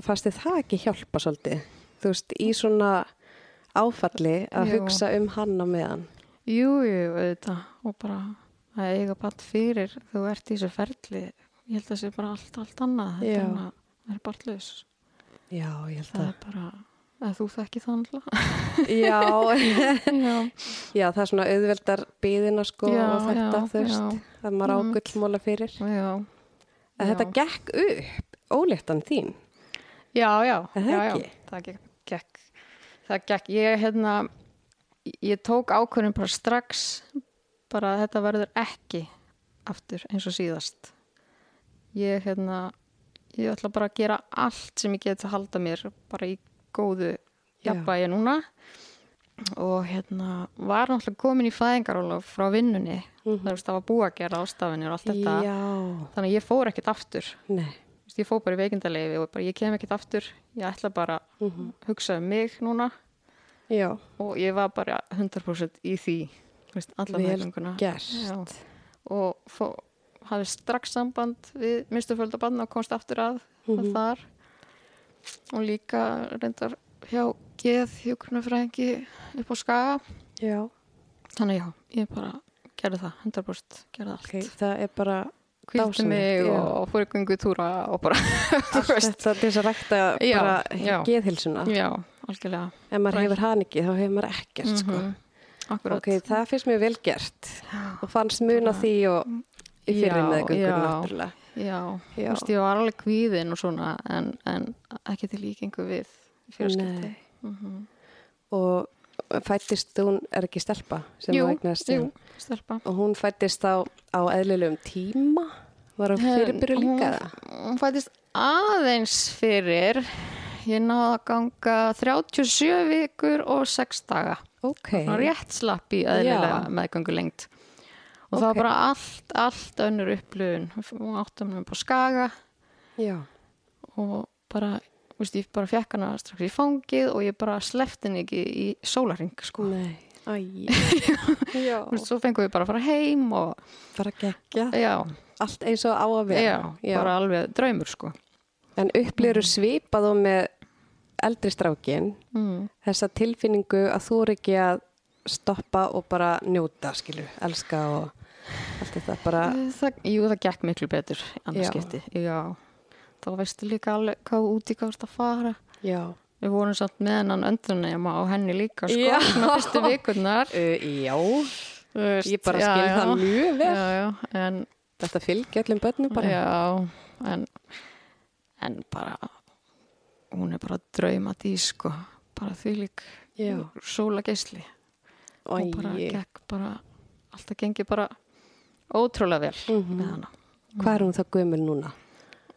fannst þið það ekki hjálpa svolítið? Þú veist, í svona áfalli að
Jú.
hugsa um hann á meðan.
Jú, jú, auðvitað og bara að eiga bann fyrir þú ert í þessu ferli ég held að það sé bara allt, allt
Já.
annað þetta er bara, það er barnlaus
Já, ég held
það er bara, að þú þekki það [LAUGHS] alltaf
Já, [LAUGHS]
Já,
já, það er svona auðveldar byðina sko
Já,
og þetta,
já,
þú veist,
já. Mhm.
það maður águllmóla fyrir.
já
En þetta gekk upp, óléttan þín.
Já, já,
Er það
já, já.
ekki?
það gekk, gekk það gekk, ég hérna ég tók ákvörðin bara strax bara að þetta verður ekki aftur eins og síðast ég hérna ég ætla bara að gera allt sem ég get að halda mér bara í góðu
Já.
jafnvægi núna og hérna var náttúrulega komin í fæðingarólof frá vinnunni mm -hmm. það var búið að gera ástafinir og allt þetta
Mhm. Já,
þannig að ég fór ekkert aftur
nei,
Þú veist, ég fór bara í veikindaleifi og bara ég kem ekkert aftur ég ætla bara að
Mhm.
hugsa um mig núna
já,
og ég var bara 100% í því þú veist, alla
Vel
meðlunguna
gert.
Já. og fó, hafði strax samband við mistuföldabann og komst aftur að mm
Mhm.
þar og líka reyndar hjá geð hjókunarfræðingi upp á skaga
já.
þannig já, ég bara gerði það 100% gerði allt
Ok, það er bara
kvildi mig
já.
og fór í göngu túra og bara
Allt þetta til þess að rækta
Já,
bara
já.
geðhilsuna
[LAUGHS] já, algjörlega
ef maður hefur hann ekki þá hefur maður ekkert
sko.
sko.
Akkurat.
ok, það finnst mér vel gert og fannst mun á því og í fyrir
Já,
með
já.
náttúrulega
Já,
Já.
þú veist, ég var alveg kvíðin og svona, en, en ekki til líkingu við Mhm. í
Nei.
fjölskyldi.
og fættist hún, er ekki stelpa sem
jú,
þú eignast
jú, stelpa.
og hún fættist á, á eðlilegum tíma var hún fyrirbyrju
Ehm, Hún-
líka það
Hún fættist aðeins fyrir, ég náði að ganga 37 vikur og 6 daga.
ok,
Svona rétt slapp í eðlilega meðgöngu lengt. Og það var
Ok.
bara allt, allt önnur upplöfun. Hún áttum við bara skaga
já,
og bara, þú veist, ég bara fekk hana strax í fangið og ég bara sleppti henni ekki í sólaring, sko.
nei
[LAUGHS]
Æ, já,
Þú veist, svo fengum við bara að fara heim og,
bara geggja
já,
allt eins og á að
já,
vera
bara alveg draumur, sko.
En upplýru svipað og með eldri strákin
Mm.
þessa tilfinningu að þú er ekki að stoppa og bara njóta, skilur, elska og allt þetta bara,
Það, jú, það gekk miklu betur
Já.
annarskipti, já. Þá veistu líka alveg hvað út í hvað þú ert að fara.
já.
Við vorum samt með hennan öndrunema og henni líka, sko,
Já.
svona fyrstu vikurnar.
Uh, já,
Þú veist,
ég bara skil
já,
það
já.
mjög vel.
Já, já, en,
Þetta fylgja öllum börnum bara.
já, en, en bara, hún er bara draumat í, sko, bara því lík
Já.
sóla geisli.
Og
og bara
ég,
gekk bara, alltaf gengi bara ótrúlega vel
Mhm.
með hana.
hvað er hún þá gömur núna?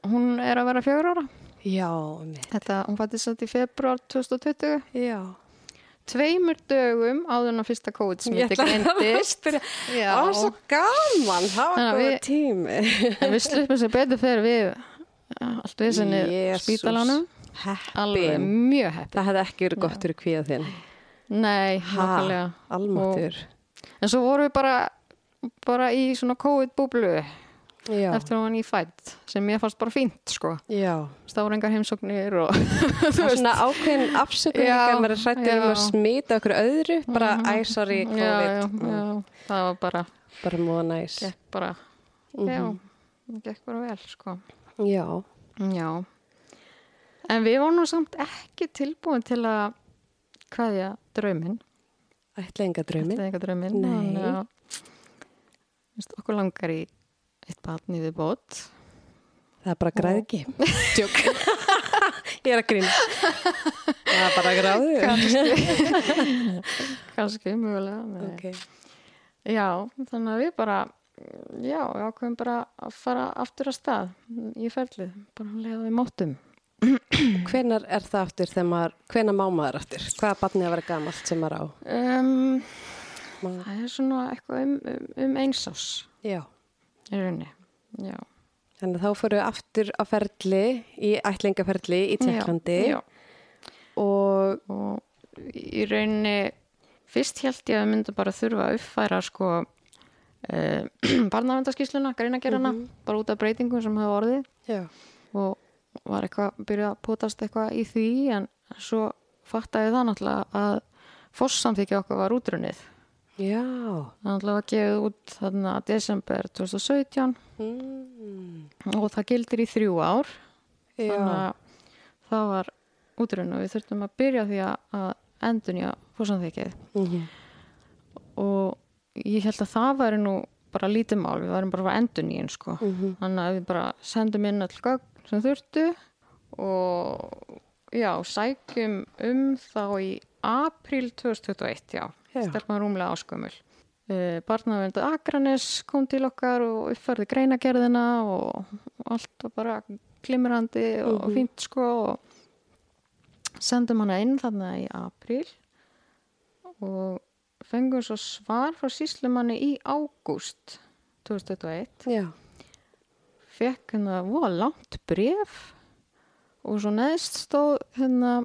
Hún er að vera fjögur ára.
Já, mitt.
Þetta, hún fættist þetta í februar 2020.
Já.
Tveimur dögum áður en að fyrsta
[LAUGHS]
COVID-smitti greindist. Já.
Það var svo gaman, það var
Þannig að
góð
við-
tími.
En við sluppum sér betur fyrir við eh, allt við senni
Jesús.
spítalanum. Alveg
Heppin.
mjög heppið.
Það hefði ekki verið gott fyrir kvíða þinn.
Nei,
Ha,
nákvæmlega.
almáttur.
En svo vorum við bara, bara í svona COVID-búblu
Já,
eftir að hún var nýfætt sem mér fannst bara fínt, sko.
já.
[LAUGHS] Stáður engar heimsóknir og
Það er svona ákveðin afsökun
Já,
líka, maður er hrættur um
já. Mhm.
að smita okkur öðru, [LAUGHS] bara æ, sorry,
já, já,
COVID, Mm.
já, það var bara,
bara móða næs.
gekk bara,
Mhm.
já, gekk bara vel, sko.
Já,
Já. En við vorum nú samt ekki tilbúin til að hvaðja drauminn.
ætla enga
Þetta
drauminn.
er eitthvað drauminn.
Nei.
þannig að, þú veist, okkur langar í eitt batn í við bót.
Það er bara græðgi.
[LAUGHS]
Tjók. [LAUGHS] Ég er að grín. Það er bara
[LAUGHS]
gráður.
Kanski, mjögulega. nei.
Ok.
Já, þannig að við bara, já, við ákveðum bara að fara aftur að stað í ferlið. Bara að leiða við móttum.
Hvenar er það aftur þegar maður, hvenar má maður aftur? Hvaða barnið að vera gamalt sem maður á?
Um,
Má-
það er svona eitthvað um, um, um einsás
Já.
í rauninni. Já.
Þannig að þá fóru aftur á ferli, í ætlingaferli í Tjekklandi
Já, já.
og
og í rauninni fyrst held ég að við myndum bara þurfa að uppfæra sko eh, [CLEARS THROAT] barnavendarskísluna, greinagerðana
Mhm.
bara út af breytingum sem hefur orðið
já.
og var eitthvað, byrjað að potast eitthvað í því en svo fattaði það náttúrulega að fórsamþykja okkar var útrunnið
Já.
það náttúrulega var gefið út þarna desember 2017
Mm.
og það gildir í þrjú ár
Já.
þannig að það var útrunnið og við þurftum að byrja á því að- að endunja fórsamþykjað
Mhm.
og ég held að það væri nú bara lítið mál, við værum bara að endun í einn sko.
Mhm.
Þannig að við bara sendum inn all gögn sem þurftu og já, sækjum um þá í april 2021, já,
Já.
stelpum rúmlega áskömmul. Uh, Barnavendu Akranes kom til okkar og uppfærði greinagerðina og allt var bara glimrandi og
Mhm.
fínt sko og sendum hana inn þarna í april og fengum svo svar frá síslumanni í ágúst 2021
Já.
fekk hérna voða langt bref og svo neðst stóð hérna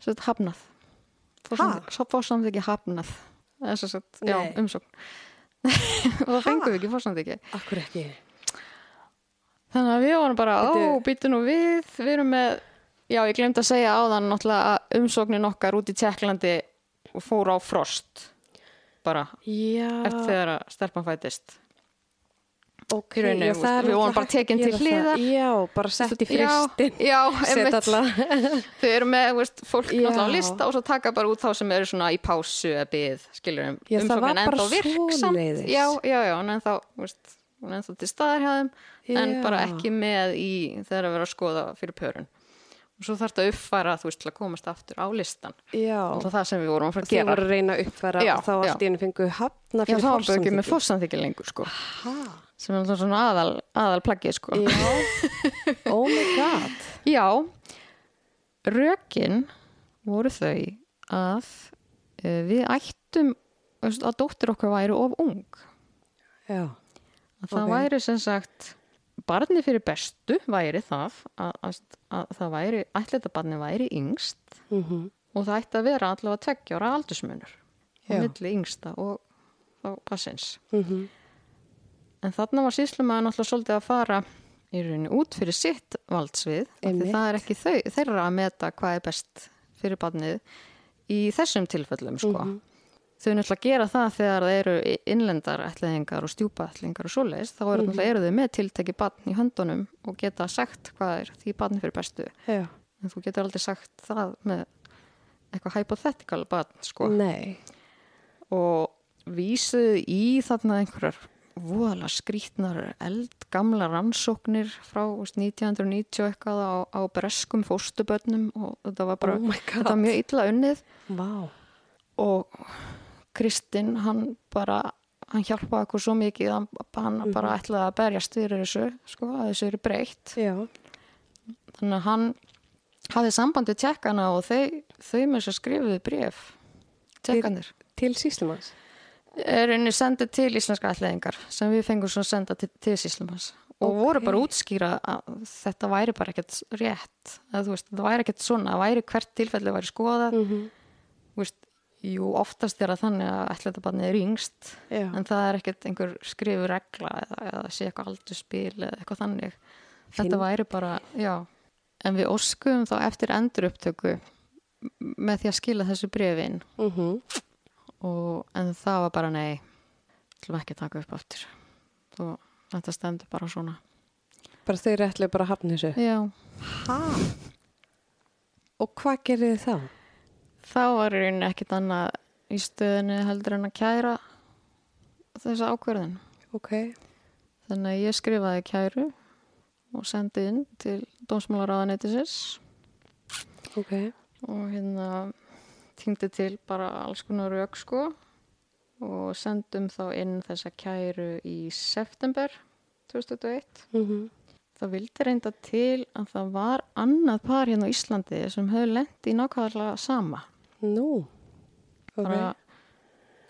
svo þetta hafnað
Ha?
svo fórsamt ekki hafnað eða svo sett, já,
Nei.
umsókn [LAUGHS] og það fengum við ekki fórsamt ekki
Akkur ekki.
þannig að við vorum bara,
Bíddu.
ó, býtu nú við við erum með, já, ég glemt að segja áðan náttúrulega að umsóknin okkar út í Tjekklandi fór á frost bara,
Já.
eftir þegar að stelpan fættist
ok,
í rauninni,
já,
þú
það
veist,
er
við vorum
náttúrulega
bara tekin
hægt að
til
gera það.
hliðar.
Já, bara sett í [LAUGHS] fristin.
já,
Sett
einmitt.
alla.
Þau eru með, þú veist, fólk
Já.
náttúrulega á lista og svo taka bara út þá sem eru svona í pásu eða byð, skilur um,
Já, það var
umsóknin
bara
ennþá virksamt.
svoleiðis.
Já, já, já, hún er ennþá, þú veist, hún er ennþá til staðar hjá þeim, en
Já.
bara ekki með í þegar að vera að skoða fyrir pörun. Og og svo þarf þetta að uppfæra þú veist til að komast aftur á listan
Já.
og það sem við vorum að fara að
Þið
gera
voru að reyna að uppfæra
Já,
og þá allt í einu fengu hafna
Já,
fyrir
þá var bara ekki
forsamþykki.
með fórsamþykki lengur sko
Ha?
sem er náttúrulega svona aðal, aðal plaggið sko
Já, [LAUGHS] oh my god.
Já, rökin voru þau að uh, við ættum þú veist, að dóttir okkar væri of ung
Já,
að það
Ok.
væri sem sagt barni fyrir bestu væri það að, að, að það væri ætlæta barni væri yngst
mm
og það ætti að vera allavega tveggjára aldursmunur á
Já.
milli yngsta og þá passins
Mhm.
en þarna var síslumæður náttúrulega svolítið að fara í rauninni út fyrir sitt valdsvið af því
Einmitt.
það er ekki þau, þeirra að meta hvað er best fyrir barnið í þessum tilfellum sko.
Mhm.
þau náttúrulega gera það þegar það eru innlendar ætliðingar og stjúpaætlingar og svoleiðis þá
Mhm.
eru, náttúrulega eru þau með tilteki barn í höndunum og geta sagt hvað er því barni fyrir bestu
já.
en þú getur aldrei sagt það með eitthvað hypothetical barn sko
Nei, Mm.
og vísuðu í þarna einhverjar voðalega skrítnar eldgamla rannsóknir frá þú veist, 1990 eitthvað á, á breskum fóstubönnum og þetta var bara
Oh my God.
þetta var mjög illa unnið
vá.
og Kristinn hann bara hann hjálpaði okkur svo mikið hann, hann
Mhm.
bara ætlaði að berjast fyrir þessu sko, að þessu eru breytt
Já,
þannig að hann hafði sambandi tjekkana og þau, þau með þess að skrifuðu bref tjekkanir
til síslumans.
er unni sendið til íslenska ætlaðingar sem við fengum svo senda til, til Síslumans og voru bara að útskýra að þetta væri bara ekkert rétt að þú veist, þetta væri ekkert svona, að væri hvert tilfelli væri skoðað mm veist, jú, oftast er það þannig að ætlaðabarnið er yngst
Já.
en það er ekkert einhver skrifu regla eða, eða sé eitthvað aldurspil eða eitthvað þannig þetta væri bara, já en við óskuðum þá eftir endur upptöku með því að skila þessu brefin
Mm
og, en það var bara nei ætlum ekki að taka upp aftur og þetta stemdi bara svona
Bara þau eru ætlaði bara að hafna þessu.
já,
Ha? Og hvað gerir þið þá?
þá var í rauninni ekkit annað í stöðinu heldur en að kæra þessa ákverðin
Ok,
þannig að ég skrifaði kæru og sendi inn til dómsmálaráðaneytisins
ok.
og hérna týndi til bara alls konar rauk sko og sendum þá inn þessa kæru í september 2021
Mm
Það vildi reynda til að það var annað par hérna á Íslandi sem höfðu lent í nákvæmlega sama.
Nú, ok.
Bara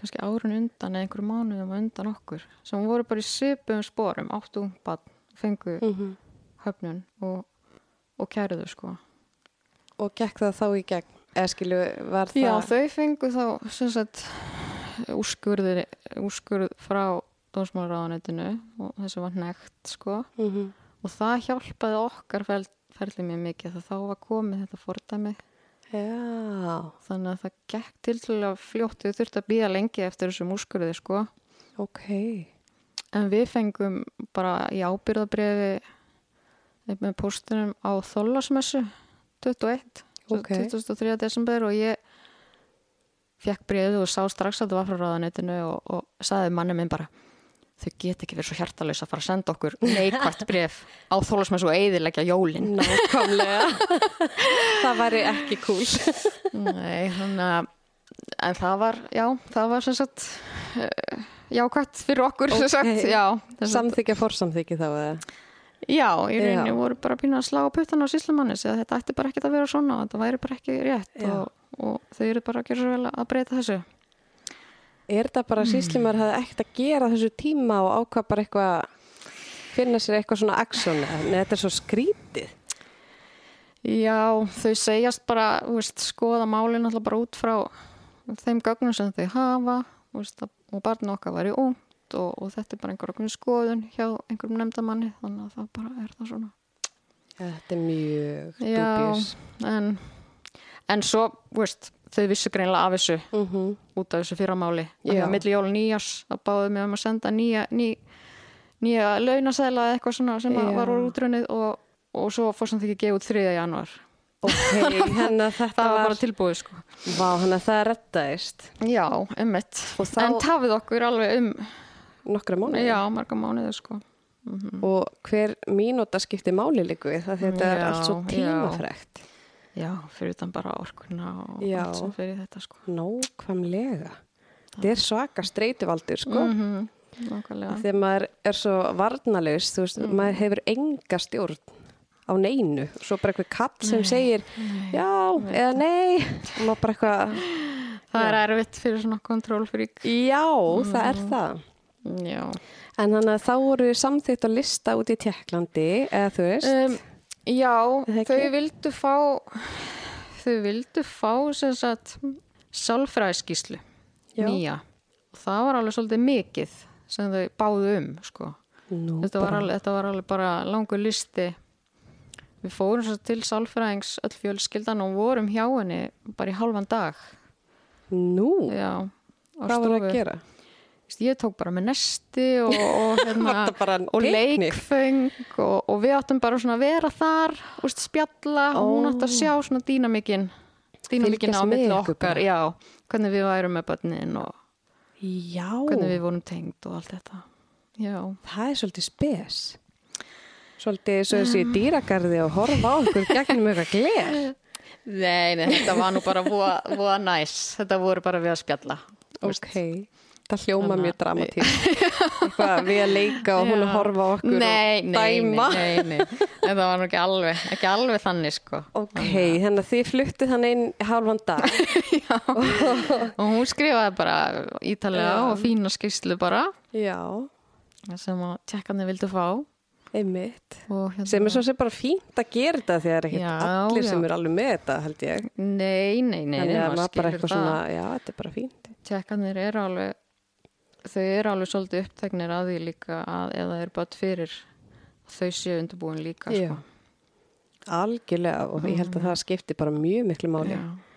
kannski árun undan eða einhverju mánuðum á undan okkur sem voru bara í söpum spórum, áttu ungbann, fengu
mm
höfnun og, og kæruðu sko.
Og gekk það þá í gegn? Eða skilu, var það...
Já, þau fengu þá sem sagt úrskurðir, úrskurð frá dómsmálaráðanetinu og þessu var nekt sko.
Mm
Og það hjálpaði okkar ferli, ferli mér mikið þá þá var komið þetta fordæmi
Já,
þannig að það gekk til til að fljótt við þurfti að býða lengi eftir þessum úrskurði sko.
ok.
en við fengum bara í ábyrðabrefi með póstunum á Þólasmessu 21
Ok.
23. desember og ég fekk brefið og sá strax að það var frá ráðaneytinu og, og sagði manni minn bara þau get ekki verið svo hjartalaus að fara að senda okkur neikvægt bref á Þólasmessu og eigðilegja jólin
[LAUGHS] Nákvæmlega. það væri ekki cool.
Nei, þannig að en það var, já, það var sem sagt eh, jákvætt fyrir okkur sem
Ok.
sagt, já sem sagt-
Samþykja fórsamþykja þá eða?
Já, í rauninni
Já.
voru bara að pýna að slá puttana á síslumanni að þetta ætti bara ekkert að vera svona og þetta væri bara ekki rétt
Já.
og, og þau eru bara að gera svo vel að breyta þessu
Er það bara síslumar hafði ekkert að gera þessu tíma og ákvað bara eitthvað finna sér eitthvað svona aksjón en þetta er svo skrítið
Já, þau segjast bara þú veist, skoða málin alltaf bara út frá þeim gögnum sem þau hafa þú veist, að- og barna okkar væri ungt og, og þetta er bara einhver okkur skoðun hjá einhverjum nefndamanni þannig að það bara er það svona
Þetta er mjög
Já,
dubjus
en, en svo, þú veist, þau vissu greinlega af þessu
mm -hmm.
út af þessu fyrramáli. Þannig
Já.
að milli jól og nýjars, þá báðum við um að senda nýja, ný, nýja launasæla eða eitthvað svona sem
Já.
að var úr útrunnið og, og svo fór samt ekki að gefa út 3. januar.
Ok, [LAUGHS] þannig að þetta
Það hérna, var
var
bara tilbúið, sko.
Vá, þannig að það rettaðist
Já, emmitt.
Og þá-
En tafið okkur alveg um,
nokkra mánuði
já, marga mánuði, sko.
og hver mínúta skipti máli líku við það því þetta er
Já,
allt svo
já.
tímafrekt
Já, fyrir utan bara orkuna og
Já.
allt sem fyrir þetta sko.
Nákvæmlega. Þetta er svaka streytuvaldur, sko.
-hmm. Nákvæmlega.
Þegar maður er svo varnalist, þú veist,
Mm.
maður hefur enga stjórn á neinu. Svo bara eitthvað katt sem segir, já, eða nei, og maður bara eitthvað,
Það er erfitt fyrir svona kontrólfrík.
já, það
Mm.
er það.
Já.
En þannig að þá voru þið samþýtt að lista út í Tjekklandi, eða þú veist,
Um, já,
Það
þau
ekki?
vildu fá, þau vildu fá sem sagt sálfræðskíslu,
Já.
nýja. Og Það var alveg svolítið mikið sem þau báðu um, sko.
nú
Þetta var, alveg, þetta var alveg bara langur listi. Við fórum svo til sálfræðings öll fjölskyldan og vorum hjá henni bara í halvan dag.
nú,
Já, á
hvað voru
stofu.
að gera?
Veist, Ég tók bara með nesti [LAUGHS] og, og, hérna,
Var það bara
og
picnic?
leikfeng og, og við áttum bara svona að vera þar og spjalla og hún átt að sjá svona dýnamikinn dýnamikinn á
Fylgjast með
milli
ykkur bara.
okkar, já, hvernig við værum með börnin og
Já,
hvernig við vorum tengd og allt þetta. Já,
það er svolítið spes. Svolítið svo þessi í
Ah.
dýragarði og horfa á okkur gegnum eitthvað gler.
[LAUGHS] Nei, nei, þetta var nú bara voða, voða næs. Þetta voru bara við að spjalla.
Ok, það hljóma mjög dramatísk. Eitthvað við að leika og hún að horfa á okkur
nei,
og
nei,
dæma.
Nei, nei, nei. En það var nú ekki alveg, ekki alveg þannig, sko.
Ok, þannig að þið fluttu þannig inn í halvan dag.
[LAUGHS] Og hún skrifaði bara ítalega og fína skýrslu bara
Já,
sem að tjekkarnir vildu fá.
einmitt.
Og hérna,
Sem er svo sem bara fínt að gera þetta því það er ekkert
Já,
allir
já.
sem er alveg með þetta held ég.
Nei, nei, nei,
Þannig að maður bara
skilur
eitthvað svona, já, þetta er bara fínt.
Tjekkarnir eru alveg, þau eru alveg svolítið uppteknir að því líka að ef það er bara fyrir þau séu undirbúin líka,
Já.
sko. Mhm.
Algjörlega og ég held að það skipti bara mjög miklu máli.
Já. Mhm.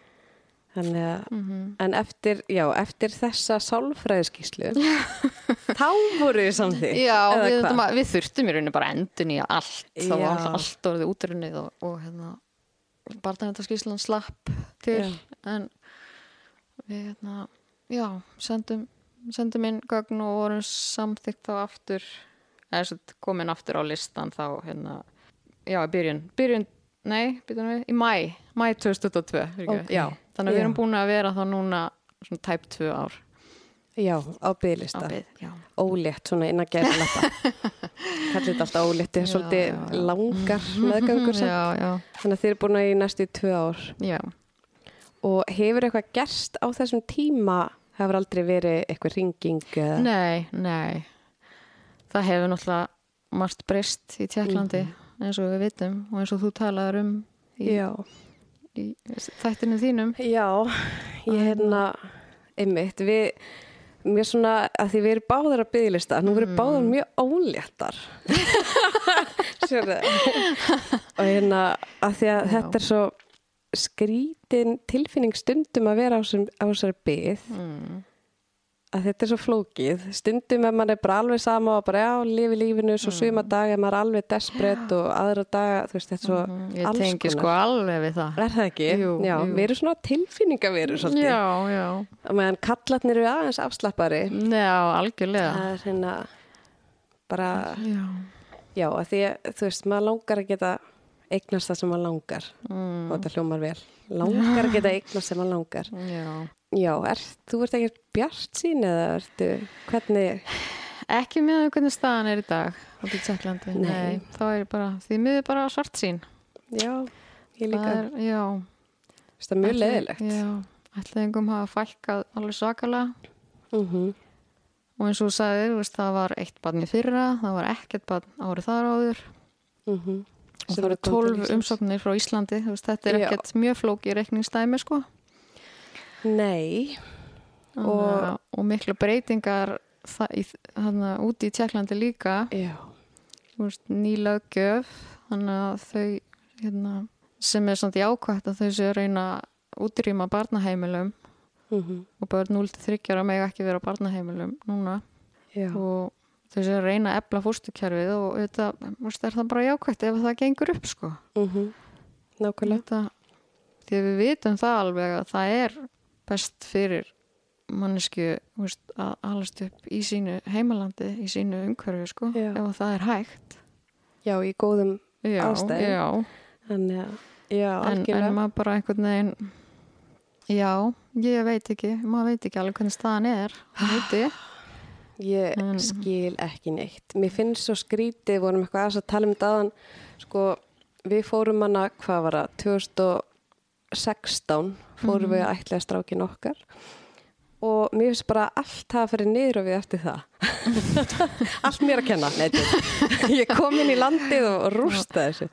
Þannig að, en eftir, já, eftir þessa sálfræðiskíslu, þá voru þið samþýtt.
Já,
eða
við,
hvað?
þurftum að- við þurftum í rauninni bara endun í allt. Það var
Já.
alltaf allt orðið útrunnið og, og hérna, barnavæntarskíslan slapp til.
Já.
En við hérna, já, sendum, sendum inn gögn og vorum samþykkt þá aftur, eða svo komin aftur á listan þá hérna, já, í byrjun, byrjun, nei, byrjun við, í mæ, mæ 2002,
Ok.
okay. já, þannig að við
Já.
erum búin að vera þá núna svona tæp tvö ár
Já, á
á
bygglista.
byggð, já.
Ólétt, svona innan gæða lappa.
[LAUGHS]
Kallir þetta alltaf ólétt, þetta er svolítið langar meðgangur. samt.
[LAUGHS] Já, já,
Þannig að þið eru búin að í næstu tvö ár.
já.
Og hefur eitthvað gerst á þessum tíma? Hefur aldrei verið eitthvað ringing? eða-
Nei, nei. Það hefur náttúrulega margt breyst í Tjekklandi eins og við vitum og eins og þú talaður um í,
Já.
í þættinu þínum.
Já, ég hérna, einmitt, við, mér svona, að því við erum báðar að byggðlista, nú erum
Mm.
báðar mjög óléttar. [LAUGHS] Sér Og hérna, að því að þetta er svo skrítin tilfinning stundum að vera á, sem, á þessari byggð,
Mm.
að þetta er svo flókið. Stundum ef maður er bara alveg sama og bara, já, lifi lífinu,
Mm.
svo suma dag, ef maður er alveg desperett og aðra daga, þú veist, þetta er svo
Ég
alls
tengi sko alveg við það.
Er það ekki?
Jú,
já,
jú.
við erum svona tilfinningaveru svolítið.
Já, já.
Á meðan kallatnir eru aðeins afslappari
Já, algjörlega.
það er hérna bara,
Já.
já, að því að þú veist, maður langar að geta eignast það sem maður langar
Mm.
og þetta hljómar vel, langar
[LAUGHS]
að geta eignast sem maður langar.
já.
Já, er, þú ert ekki bjart sín eða ertu, hvernig
Ekki með hvernig staðan er í dag á Tjekklandi.
Nei.
Þá er ég bara, því miður bara svart sín.
já, ég líka,
Það er, já.
veist það er mjög
Ætli-
leðilegt
Já. Ætlaðingum hafa fælkað alveg svakalega.
mm
Og eins og þú sagðir, þú veist, það var eitt barn í fyrra, það var ekkert barn árið þar áður
-hmm.
og það voru tólf umsóknir frá Íslandi, þú veist, þetta er
Já.
ekkert mjög flóki reikningsdæmi, sko.
Nei,
Og, og miklu breytingar það, í, hana, úti í Tjekklandi líka,
já,
þú veist, nýlaggjöf, þannig að þau, hérna, sem er samt jákvæmt að þau séu að reyna að útrýma barnaheimilum
mm
og börn 0-3 ára mega ekki vera á barnaheimilum núna.
já,
og þau séu að reyna að efla fórstukjærfið og þetta, múst, er það bara jákvæmt ef það gengur upp sko
mm nákvæmlega,
þetta, því að við vitum það alveg að það er best fyrir mannesku múst, að alast upp í sínu heimalandi í sínu umhverfi sko
Já.
ef það er hægt
já, í góðum
já,
Ástæðum.
já,
Þannig að eh, já,
en, en
algjörlega.
maður bara einhvern veginn já, ég veit ekki maður veit ekki alveg hvernig staðan er
Ah.
heiti,
Ég
en-
skil ekki neitt. Mér finnst svo skrítið, við vorum eitthvað aðeins að tala um dagann, sko, við fórum hana, hvað var það, 2016
Mhm.
fórum við að ætlaða strákin okkar og mér finnst bara allt hafa fyrir niður og við eftir það. allt mér að kenna, nei, þetta- [LAUGHS] ég kom inn í landið og rústa þessu.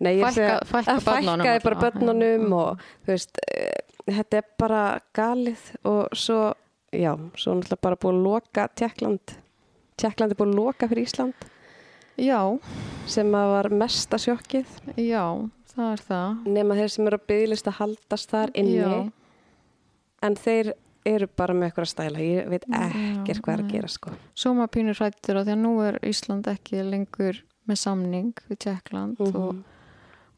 Nei, ég
Fækka-
segi-
fækka
að
börnunum
fækkaði bara
allavega,
börnunum og þú veist, eh, þetta er bara galið og svo, já, svo náttúrulega bara búið að loka Tjekkland. Tjekkland er búið að loka fyrir Ísland
já,
sem að var mesta sjokkið
já, það er það
nema þeir sem eru að byggðlist að haldast þar inni
Já.
en þeir eru bara með eitthvað stæla, ég veit ekkert hvað er að
nei.
gera sko.
svo maður pínur hrættur á því að nú er Ísland ekki lengur með samning við Tjekkland
Mhm.
og,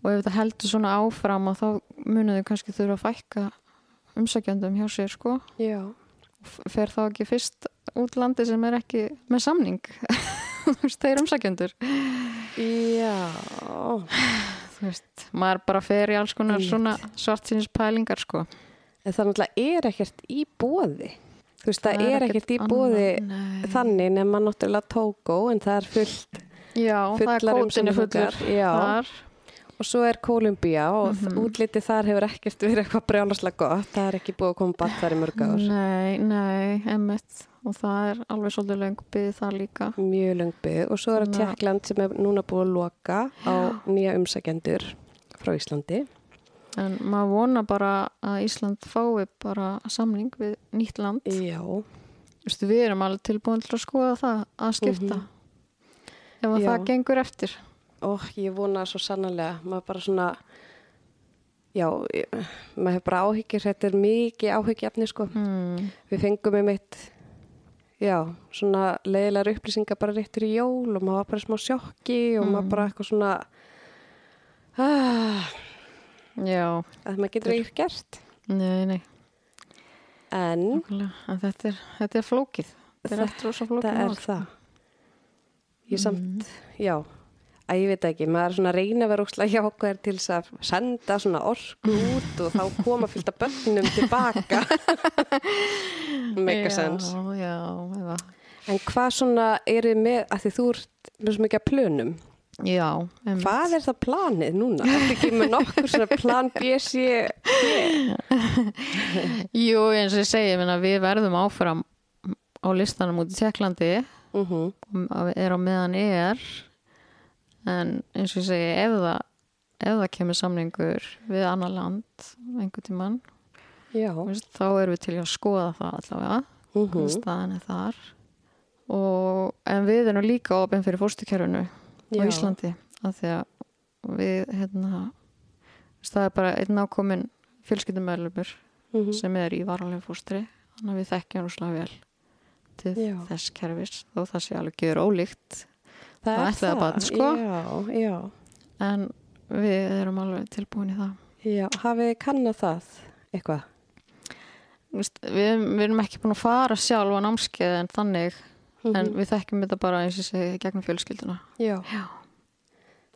og ef þetta heldur svona áfram að þá munið þau kannski þurfa að fækka umsækjandum hjá sér sko
Já.
F- fer þá ekki fyrst út landi sem er ekki með samning [LAUGHS] þú veist, þeir umsækjandur
Já.
þú veist, maður bara fer í alls konar
Einmitt.
svona svartsýnis pælingar sko.
En það náttúrulega er ekkert í bóði. Þú veist, það, er ekkert í
annað,
bóði
nei.
þannig nema náttúrulega Tógó en það er fullt
já, það er
Fullar
kótin er
umsækjendur,
fullur
já.
þar,
og svo er Kólumbía og mm útlitið þar hefur ekkert verið eitthvað brjálarslega gott. Það er ekki búið að koma bara þar í mörg ár.
nei, nei, emmitt og það er alveg svolítið löng byggð þar líka
Mjög löng byggð og svo er það
Þannig að-
Tjekkland sem er núna búið að loka á nýja umsækjendur frá Íslandi.
en maður vona bara að Ísland fái bara samning við nýtt land
Já,
Þú veist, við erum alveg tilbúin til að skoða það að skipta ef að
Mhm. Já.
það gengur eftir
og ég vona það svo sannlega. Maður bara svona, já, ég- maður hefur bara áhyggjur, þetta er mikið áhyggjafni sko.
mm.
Við fengum um eitt, já, svona leiðilegar upplýsingar bara réttur í jól og maður var bara í smá sjokki og maður bara eitthvað svona, ah,
já,
að maður getur ekki gert.
nei, nei
En
Nákvæmlega, en þetta er, þetta er flókið. Þetta er
Þetta
allt rosa flókið
þetta er
mál.
það. Mm. Ég samt, já, að ég veit ekki, maður er svona að reyna að vera úkslega hjá okkur til þess að senda svona orku [LAUGHS] út og þá koma fyllt af börnum tilbaka. [LAUGHS] Mega sens.
Já, já, eða.
En hvað svona eru þið með, að því þú ert með svo mikið að plönum,
Já, em,
hvað er það planið núna? Það er ekki með nokkur svona plan BSI,
jú, eins og ég segi, ég meina, við verðum áfram á listanum út í Tjekklandi
mm -hmm.
og er á meðan er en eins og ég segi, ef það ef það kemur samningur við annar land einhvern tímann
já,
þú veist, þá erum við til í að skoða það allavega
mm
hvernig staðan er þar og, en við erum líka opinn fyrir fórstukerfinu á
Já.
Íslandi af því að við hérna, þú veist, það er bara einn ákominn fjölskyldumöðlumur
Mhm.
sem er í varanlega fóstri þannig að við þekkjum rúslega vel til
Já.
þess kerfis þó það sé alveg gjör ólíkt
það
það
er
ætlaði barn, sko.
Já, já.
en við erum alveg tilbúin í það
Já, hafið þið kannað það eitthvað?
Þú veist, við, við erum ekki búin að fara sjálfa námskeið en þannig en við þekkjum þetta bara eins og ég segi gegnum fjölskylduna
Mhm. Já. Já.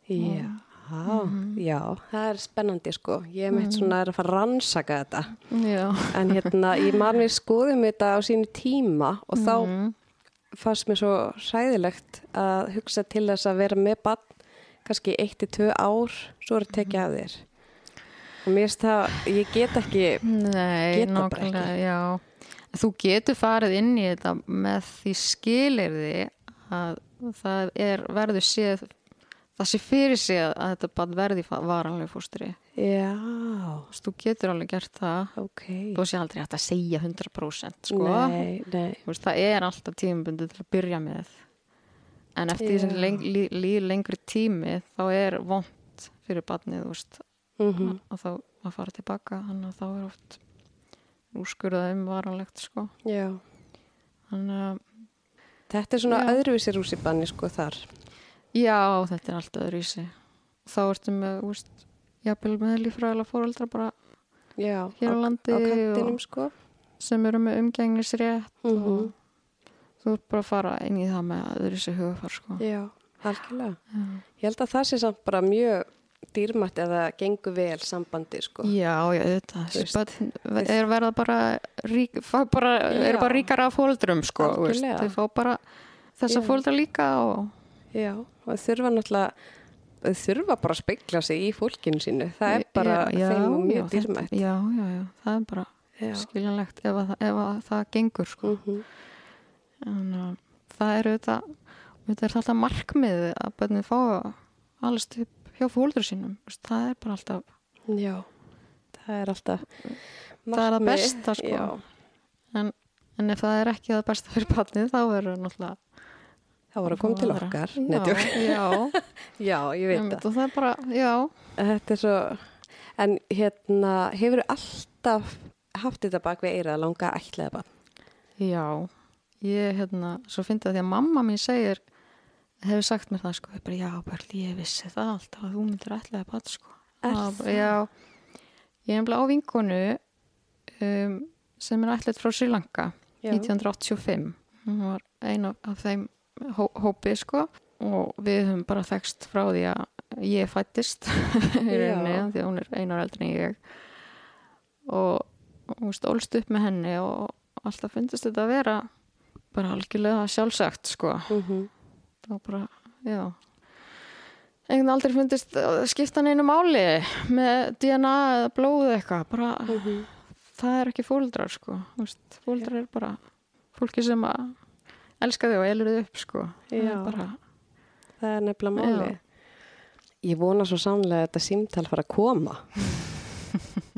Já.
Mhm.
já, það er spennandi sko. Ég er meitt svona er að fara að rannsaka þetta.
Já,
En hérna, ég man við skoðum þetta á sínu tíma og þá
Mhm. Mm.
fannst mér svo sæðilegt að hugsa til þess að vera með bann kannski eitt til tvö ár, svo er að
Mhm.
tekja af þér. Og mér finnst það, ég get ekki,
Nei,
Geta bara
nákvæmlega, já. Þú getur farið inn í þetta með því skilirði að það er verður séð, það sé fyrir séð að þetta bara verði fa- varanlega fóstri.
já,
Þú veist, Þú getur alveg gert það.
ok.
Þú sé aldrei hægt að segja 100% sko.
Nei, nei,
Þú Veist, það er alltaf tímabundi til að byrja með. En eftir því sem
Já.
leng, lí, lí, lengri tími þá er vond fyrir barnið, þú veist,
mm
að þá að fara tilbaka þannig að þá er oft úrskurðað um varanlegt sko eh,
já.
þannig að
Þetta er svona
Já.
öðruvísi rússibanni sko þar.
já þetta er alltaf öðruvísi þá ertu með úst, jafnvel með lífræðilega fóreldra bara
Já,
hér á,
á, á
landi
kantinum
og,
sko.
sem eru með umgengnisrétt
Mhm.
og þú ert bara að fara inn í það með öðruvísi hugafar sko
Já, algjörlega. Ég held að það sé samt bara mjög dýrmætt eða gengur vel sambandi sko.
Já, já, þetta spönn, er verða bara, rík, fá bara er
Já.
bara ríkar af fóldrum sko, þú veist,
Algjörlega.
þau fá bara þessa
Já.
fóldra líka og
Já, og þurfa náttúrulega þurfa bara að speikla sig í fólkinu sínu það er bara
Já,
þeim og
já,
mjög
þetta- sko.
dýrmætt
Já, já, já, það er bara
Já.
skiljanlegt ef að, ef að það gengur sko.
Mhm.
en uh, það er auðvitað auðvitað er það alltaf markmið að börnum fá allast upp hjá fóldur sínum Þú veist, það er bara alltaf
Já, það er alltaf
Það er það
markmið.
besta, sko.
Já,
en, en ef það er ekki það besta fyrir barnið þá verður það náttúrulega
það voru að koma til
aðra.
okkar
Já,
Nei, djók.
já,
Já, [LAUGHS] ég veit
einmitt,
það
og það er bara, já
Þetta er svo En hérna, hefur alltaf haft þetta bak við eirað langa ætlaða bann?
já, ég hérna svo fyndi að því að mamma mín segir hefur sagt mér það sko, ég bara já, Berli, ég vissi það alltaf að þú myndir ætlaði að bata sko
Er
Af-
það?
Já, ég er nefnilega á vinkonu um, sem er ætlaði frá Sri Lanka
Já.
1985 hún var ein af, af þeim hó, hópi sko og við höfum bara þekst frá því að ég fættist í
Já.
rauninni af því að hún er einar eldri en ég og og hún stólst upp með henni og alltaf fundist þetta að vera bara algjörlega sjálfsagt sko
Mm -hmm.
það var bara, já einhvern veginn aldrei fundist að skipta neinu máli með DNA eða blóð eitthvað bara,
mhm.
það er ekki fóldrar sko Þú veist, fóldrar er bara fólki sem að elska þig og elur þig upp sko það
Já.
er bara,
Það er nefnilega máli. Ég vona svo sannlega að þetta símtal fara að
[LAUGHS]
koma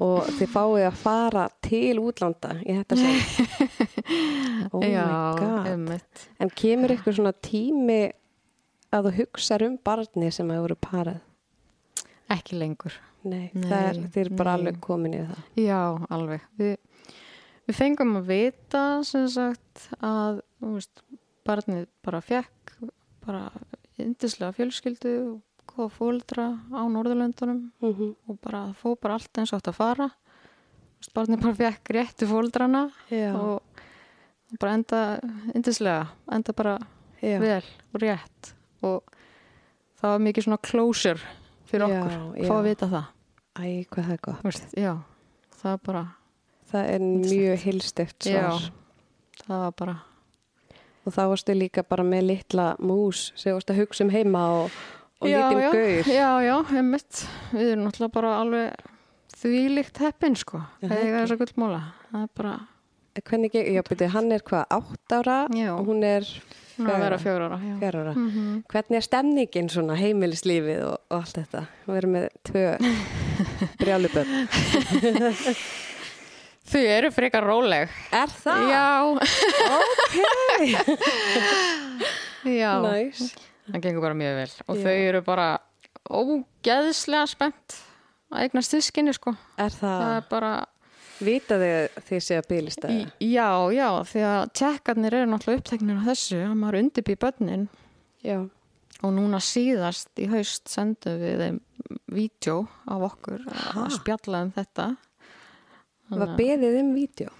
og þið fáið að fara til útlanda í þetta sem.
[LAUGHS]
Oh my
já,
god.
emmitt
En kemur ykkur svona tími að þú hugsa um barni sem að voru parað?
ekki lengur
Nei,
Nei,
það er, þið er bara
nei.
alveg komin í það.
Já, alveg. Við, við fengum að vita sem sagt að þú veist, barnið bara fekk bara yndislega fjölskyldu og góða fóldra á Norðurlöndunum
Mm -hmm.
og bara það fóð bara allt eins og átt að fara. Þú veist, Barnið bara fekk réttu fóldrana
Já,
og bara enda yndislega, enda bara
já.
vel og rétt og það var mikið svona closure fyrir
Já,
okkur,
já.
fá að vita það.
Æ, hvað það er gott.
Þú Veist, já, það er bara
Það er mjög hilstift
Já,
svar.
það var bara,
Og þá varstu líka bara með litla mús sem varstu að hugsa um heima og, og
já,
lítinn
já,
gaur.
Já, já, einmitt, við erum náttúrulega bara alveg þvílíkt heppin sko,
Já,
þegar það er svo gullmóla, það er bara,
Hvernig, ge- já, byrju, hann er hvað, átt ára
Já.
og hún er
hún er að vera
fjögurra-
fjóra ára, já.
fjögurra ára.
Mhm.
Hvernig er stemningin svona, heimilislífið og, og allt þetta? Við erum með
[LAUGHS]
tvö brjáluböld.
Þau eru frekar róleg.
Er það?
Já,
Ok. [LAUGHS]
já,
Næs.
það gengur bara mjög vel og
Já.
þau eru bara ógeðslega spennt að eignast þískinni sko,
Er það,
það er bara,
vita þig að þið séu að bílista?
Í- já, já, því að tjekkarnir eru náttúrulega uppteknir á þessu, að maður undirbýr börnin
Já.
Og núna síðast í haust sendum við þeim vídjó af okkur að spjalla um þetta.
Var beðið um vídeo?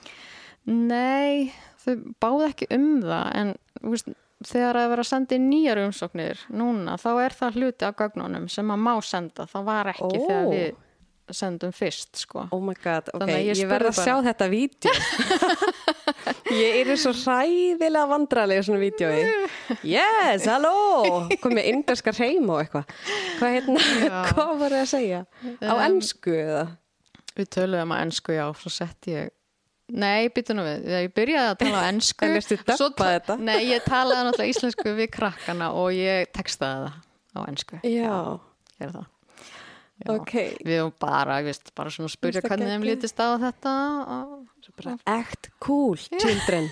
Nei, þau báðu ekki um það en þú veist, þegar það er verið að senda í nýjar umsóknir núna þá er það hluti af gögnunum sem að má senda. Það var ekki
Ó.
þegar við sendum fyrst sko.
Oh my god, ok,
Þannig að
ég,
ég
ég verð að
spurði
sjá þetta vídeo.
[LAUGHS]
ég er svo hræðilega vandralega svona vídeoi. Yes, halló, komið inderskar heim og eitthvað. Hvað hérna, [LAUGHS] hvað var það að segja? Á
Um,
ennsku eða?
Við töluðum að ennsku já, svo sett ég Nei, býtum nú við, ég byrjaði að tala á [LAUGHS] ennsku
En ertu döbbað
svo ta-
þetta?
Nei, ég talaði náttúrulega íslensku við krakkana og ég textaði það á ennsku
Já,
er það Já.
ok.
Við höfum bara, ég veist, bara svona að spyrja
Finnst það
hvernig þeim
geggjað?
lítist á þetta og...
Bara act cool, children.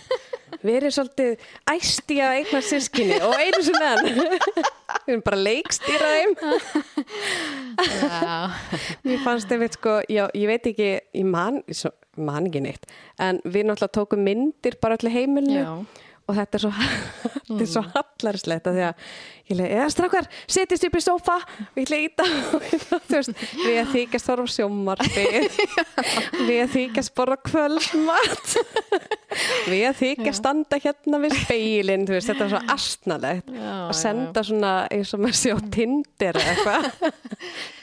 Verið svolítið æsti að eignar sískinni og einu sem enn. [LAUGHS] Við erum bara leikstýra þeim.
Já,
Mér fannst einmitt sko, já, ég veit ekki, ég man, svo, man ekki neitt, en við náttúrulega tókum myndir bara allir heimilinu
Já. Mm.
og þetta er svo, [LAUGHS] þetta er svo hallarslegt að því að ég leiði, eða strákar, setjast upp í sófa [LAUGHS] og ég leiði í það, þú veist, við að þykjast horfa á
[LAUGHS]
sjómarfi, við að þykjast borra kvöldmat, [LAUGHS] við að þykja standa hérna við speilin, þú veist, þetta er svo astnalegt
Já,
að senda svona eins og maður sé á Tinder eða
[LAUGHS]
eitthvað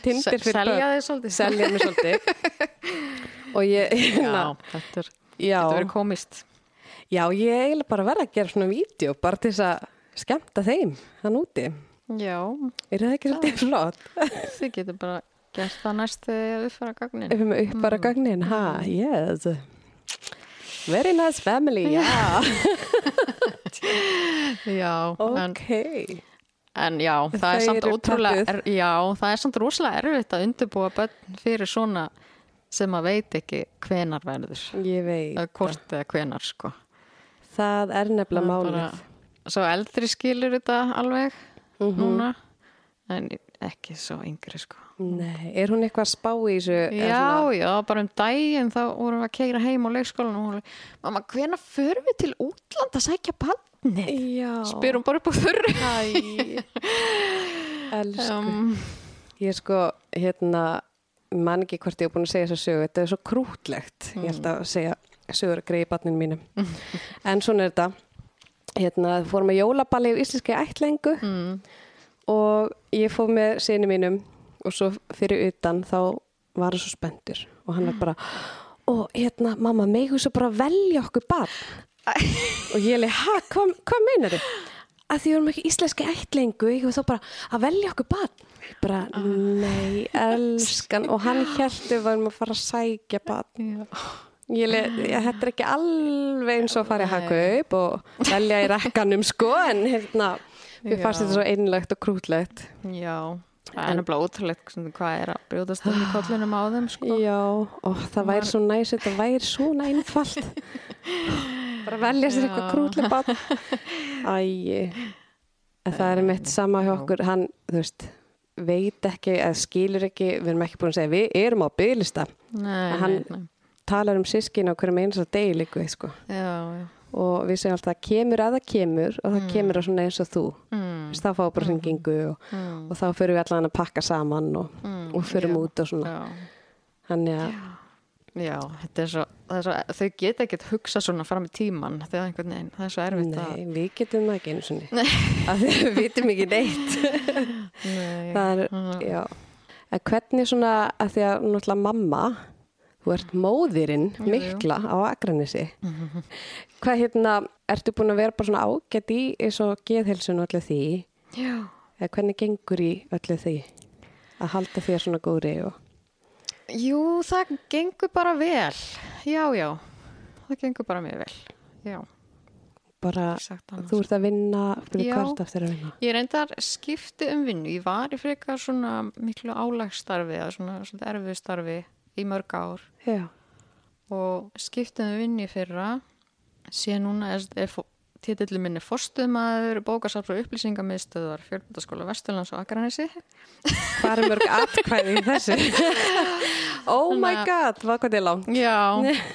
Tinder fyrir
Selja
börn,
þig svolítið.
selja mig svolítið
[LAUGHS]
og ég, hérna,
Já, þetta er,
já,
þetta verður
já,
komist.
ég er eiginlega bara að vera að gera svona vídeo bara til þess að skemmta þeim hann úti,
Já,
er það ekki
Ah.
svolítið flott?
þið getur bara gert það næst þegar við fara gagnin.
Upp með upp
Mm.
bara gagnin, ha, yes Very nice
[LAUGHS]
family, já,
Já, en,
ok
en já, það er
Þau
samt
eru
ótrúlega, er,
pökkuð.
já, það er samt rosalega erfitt að undirbúa börn fyrir svona sem að veit ekki hvenar verður.
Ég veit,
Það er hvort eða hvenar, sko.
það er nefnilega
Það er
málið
bara- Svo eldri skilur þetta alveg
Mhm.
núna, en ekki svo yngri, sko.
Nei, er hún eitthvað að spá í þessu? eða
Já,
svona-
já, bara um daginn þá vorum við að keira heim á leikskólan og hún var mamma, hvena förum við til útland að sækja barnið?
Já.
Spyrum bara upp á þurru.
Æ, [LAUGHS] elsku.
Um,
Ég sko, hérna, man ekki hvort ég er búin að segja þessa sögu. Þetta er svo krútlegt, ég held að segja sögur að greiði barninu mínu. en svona er þetta. Hérna, fórum með jólaballi í íslenski ættlengu og ég fór með sinni mínum og svo fyrir utan þá var það svo spendur og hann var bara og hérna, mamma, megu svo bara velja okkur barn og ég leiði, hæ, hvað hva meinar þið? Að því við erum ekki íslenski ættlengu og þá bara að velja okkur barn. Ég bara, nei, elskan og hann held við varum að fara að sækja barn. Ég leiði, þetta er ekki alveg eins og að fara í hagkaup og velja í rekkanum sko, en hérna, við fannst
Já.
þetta svo einlegt og krútlegt.
já, það er nefnilega ótrúlegt svona hvað er að brjóðast
Ah.
um í kollinum á þeim, sko.
Já, og það væri svo næs, þetta væri svona
[LAUGHS]
einfalt. Bara velja sér eitthvað
Já.
krútlega barn. Æi, en það er mitt sama hjá okkur, hann, þú veist, veit ekki, eða skilur ekki, við erum ekki búin að segja, við erum á bygglista.
Nei,
En hann-
nei, nei.
Talar um sískina á hverjum eins og degi líku, sko.
Já, já.
Og við segjum alltaf, kemur að það kemur og það kemur að svona eins og þú. Þú
Mm,
veist, þá fáum við bara hringingu og,
Mm.
og þá förum við allan að pakka saman og,
Mm,
og förum
já.
út og svona.
já.
Þannig að,
Já, þetta er svo, það er svo, þau geta ekkert hugsa svona fram í tíman þegar einhvern veginn, það er svo erfitt að
nei, við getum það ekki eins og [LAUGHS] niður. Við vitum ekki neitt.
Nei,
það er, já. En hvernig svona, að því að náttúrulega mamma, þú ert móðirinn
jú. Mhm.
mikla á Akranesi. Hvað hérna, ertu búin að vera bara svona ágætt í eins og geðhelsun og öllu því?
já.
Eða hvernig gengur í öllu því? Að halda þér svona góðri og...
Jú, það gengur bara vel Já, já, það gengur bara mjög vel Já,
Bara,
sagt annars.
þú ert að vinna, fyrir
Já.
hvert aftur að vinna.
Ég reyndar skipti um vinnu, ég var í frekar svona miklu álagsstarfi eða svona, svona erfiðu starfi í mörg ár
Já,
og skiptum við vinn í fyrra sé núna er, er títillu minni Forstuðmaður, bókasafn og upplýsingamiðstöðar Fjölbundaskóla Vesturlands og Akranesi
hvað er mörg atkvæði í þessu?
[LAUGHS]
oh my
Þannig
god, hvað hvað þið er langt?
Já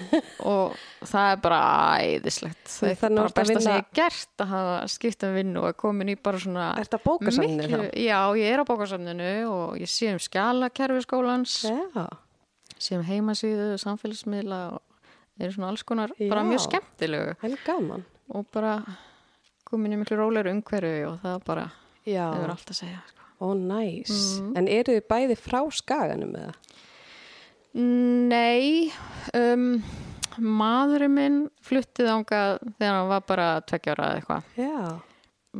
[LAUGHS] og það er bara æðislegt það er
Þannig
bara
ertu að
besta sem
vinna-
ég hef gert að hafa skiptum vinn og að komin í bara svona
Ertu á bókasafninu
miklu,
þá?
já, ég er á bókasafninu og ég sé um skjalakerfi skólans
Já,
sé um heimasíðu, samfélagsmiðla og eru svona alls konar bara
Já.
mjög skemmtilegu
það er gaman.
og bara komin í miklu rólegur umhverfi og það bara
Já.
hefur allt að segja sko.
Ó, næs.
Mhm.
En eru þið bæði frá skaganum eða?
Nei um, maðurinn minn fluttið ángað þegar hann var bara tveggjára eða eitthvað
Já.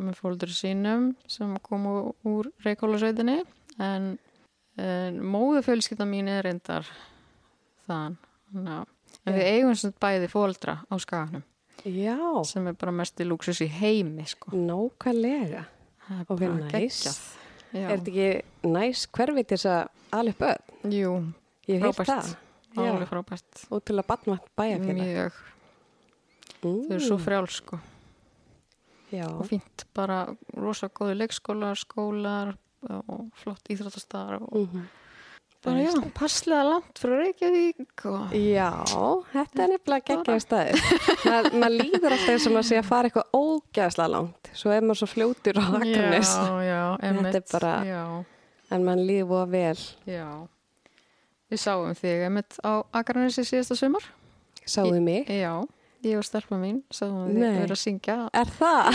með fóldur sínum sem komu úr reikólusveitinni en, en móðufjölskylda mín er reyndar þann Ná. en við eigum sem sagt bæði fóldra á skaganum
Já,
sem er bara mest í lúksus í heimi sko.
nákvæmlega.
Það er
Ok,
bara
næs.
geggjað. Já.
Er þetta ekki næs hverfið til þess að alveg börn?
Jú,
Ég veit það.
frábært Alveg frábært
Og til að barnvænt bæjarfélag.
Mjög,
Mm,
þau eru svo frjál sko
Já,
og fínt, bara rosa góði leikskólar, skólar og flott íþróttastar og
Mhm.
bara já, passlega langt frá Reykjavík og
Já, þetta er nefnilega geggjaði staðir. Maður maður líður alltaf eins og maður sé að fara eitthvað ógæðslega langt. Svo er maður svo fljótur á Akranes.
Já, já, emmitt
er bara-
Já,
En maður líður búa vel.
já Við sáum þig emmitt á Akranesi síðasta sumar
Sáðu mig.
Já, ég og stelpa mín sagðum að við
Nei. Ah.
verðum að syngja
Er það?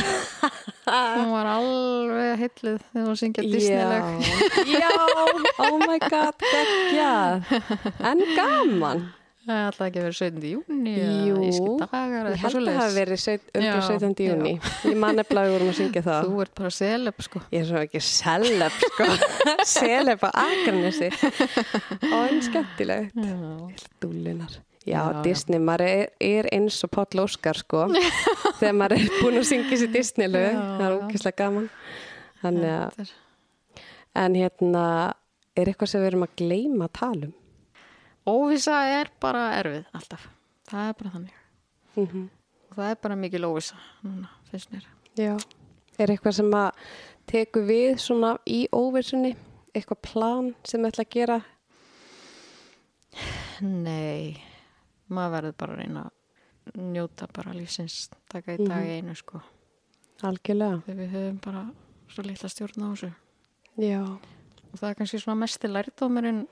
hún var alveg heilluð þegar hún var að syngja Disneyleg
Já, já, oh my god, geggjað. En gaman.
það er alltaf ekki verið 17. júni
Jú,
íski dagar
Ég held að það hafi verið seit- örgulega
Já,
17. júni. Ég man nefnilega að við vorum að syngja það.
þú ert bara seleb sko
Ég er svo ekki seleb, sko. [LAUGHS] seleb á Akranesi. Og en skemmtilegt.
já,
Dúlinar.
Já,
Já,
já.
Disney, maður er, er eins og Páll Óskar sko, þegar maður er búin að syngja sér Disney-lög,
Já,
það er
já.
ókvæslega gaman. Þannig að,
þetta er-
en hérna, er eitthvað sem við erum að gleyma að tala um?
óvisa er bara erfið alltaf það er bara þannig
Mm
og það er bara mikil óvisa núna finnst mér
Já. Er eitthvað sem að teku við svona í óvissunni? Eitthvað plan sem við ætla að gera?
Nei, maður verður bara að reyna að njóta bara lífsins taka í
Mhm.
dag einu sko
Algjörlega.
þegar við höfum bara svo litla stjórn á þessu
Já.
og það er kannski svona mesti lærdómurinn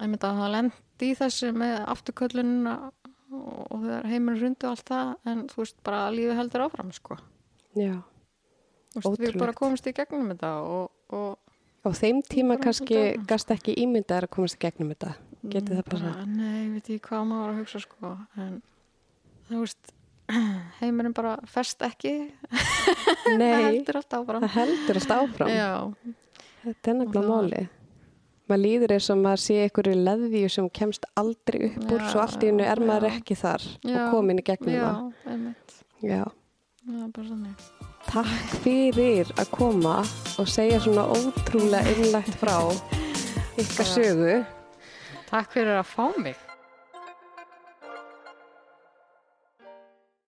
einmitt að það lendi í þessu með afturköllunina og og þegar heimurinn rundu allt það en þú veist bara að lífi heldur áfram sko
Já.
Þú veist, við
Ótrúlegt.
bara komumst í gegnum þetta og, og
Á þeim tíma
Bara
kannski
svolítið.
gast ekki ímyndaðar að komast í gegnum þetta. Getið það bara?
bara, nei, veit ég hvað maður var að hugsa sko en þú veist [CLEARS THROAT] heimurinn bara fest ekki Mm. það
Nei,
heldur allt áfram
það heldur allt áfram.
Já,
Þetta er
Og
nefnilega
það-
máli. Maður líður eins og maður sé einhverju leðvíu sem kemst aldrei upp úr
Já,
svo allt í hennu er
já.
maður ekki þar
Já.
og komin í gegnum
já,
það.
einmitt.
Já.
Það er bara þannig.
Takk fyrir að koma og segja svona ótrúlega innlægt frá ykkar sögu.
Takk fyrir að fá mig.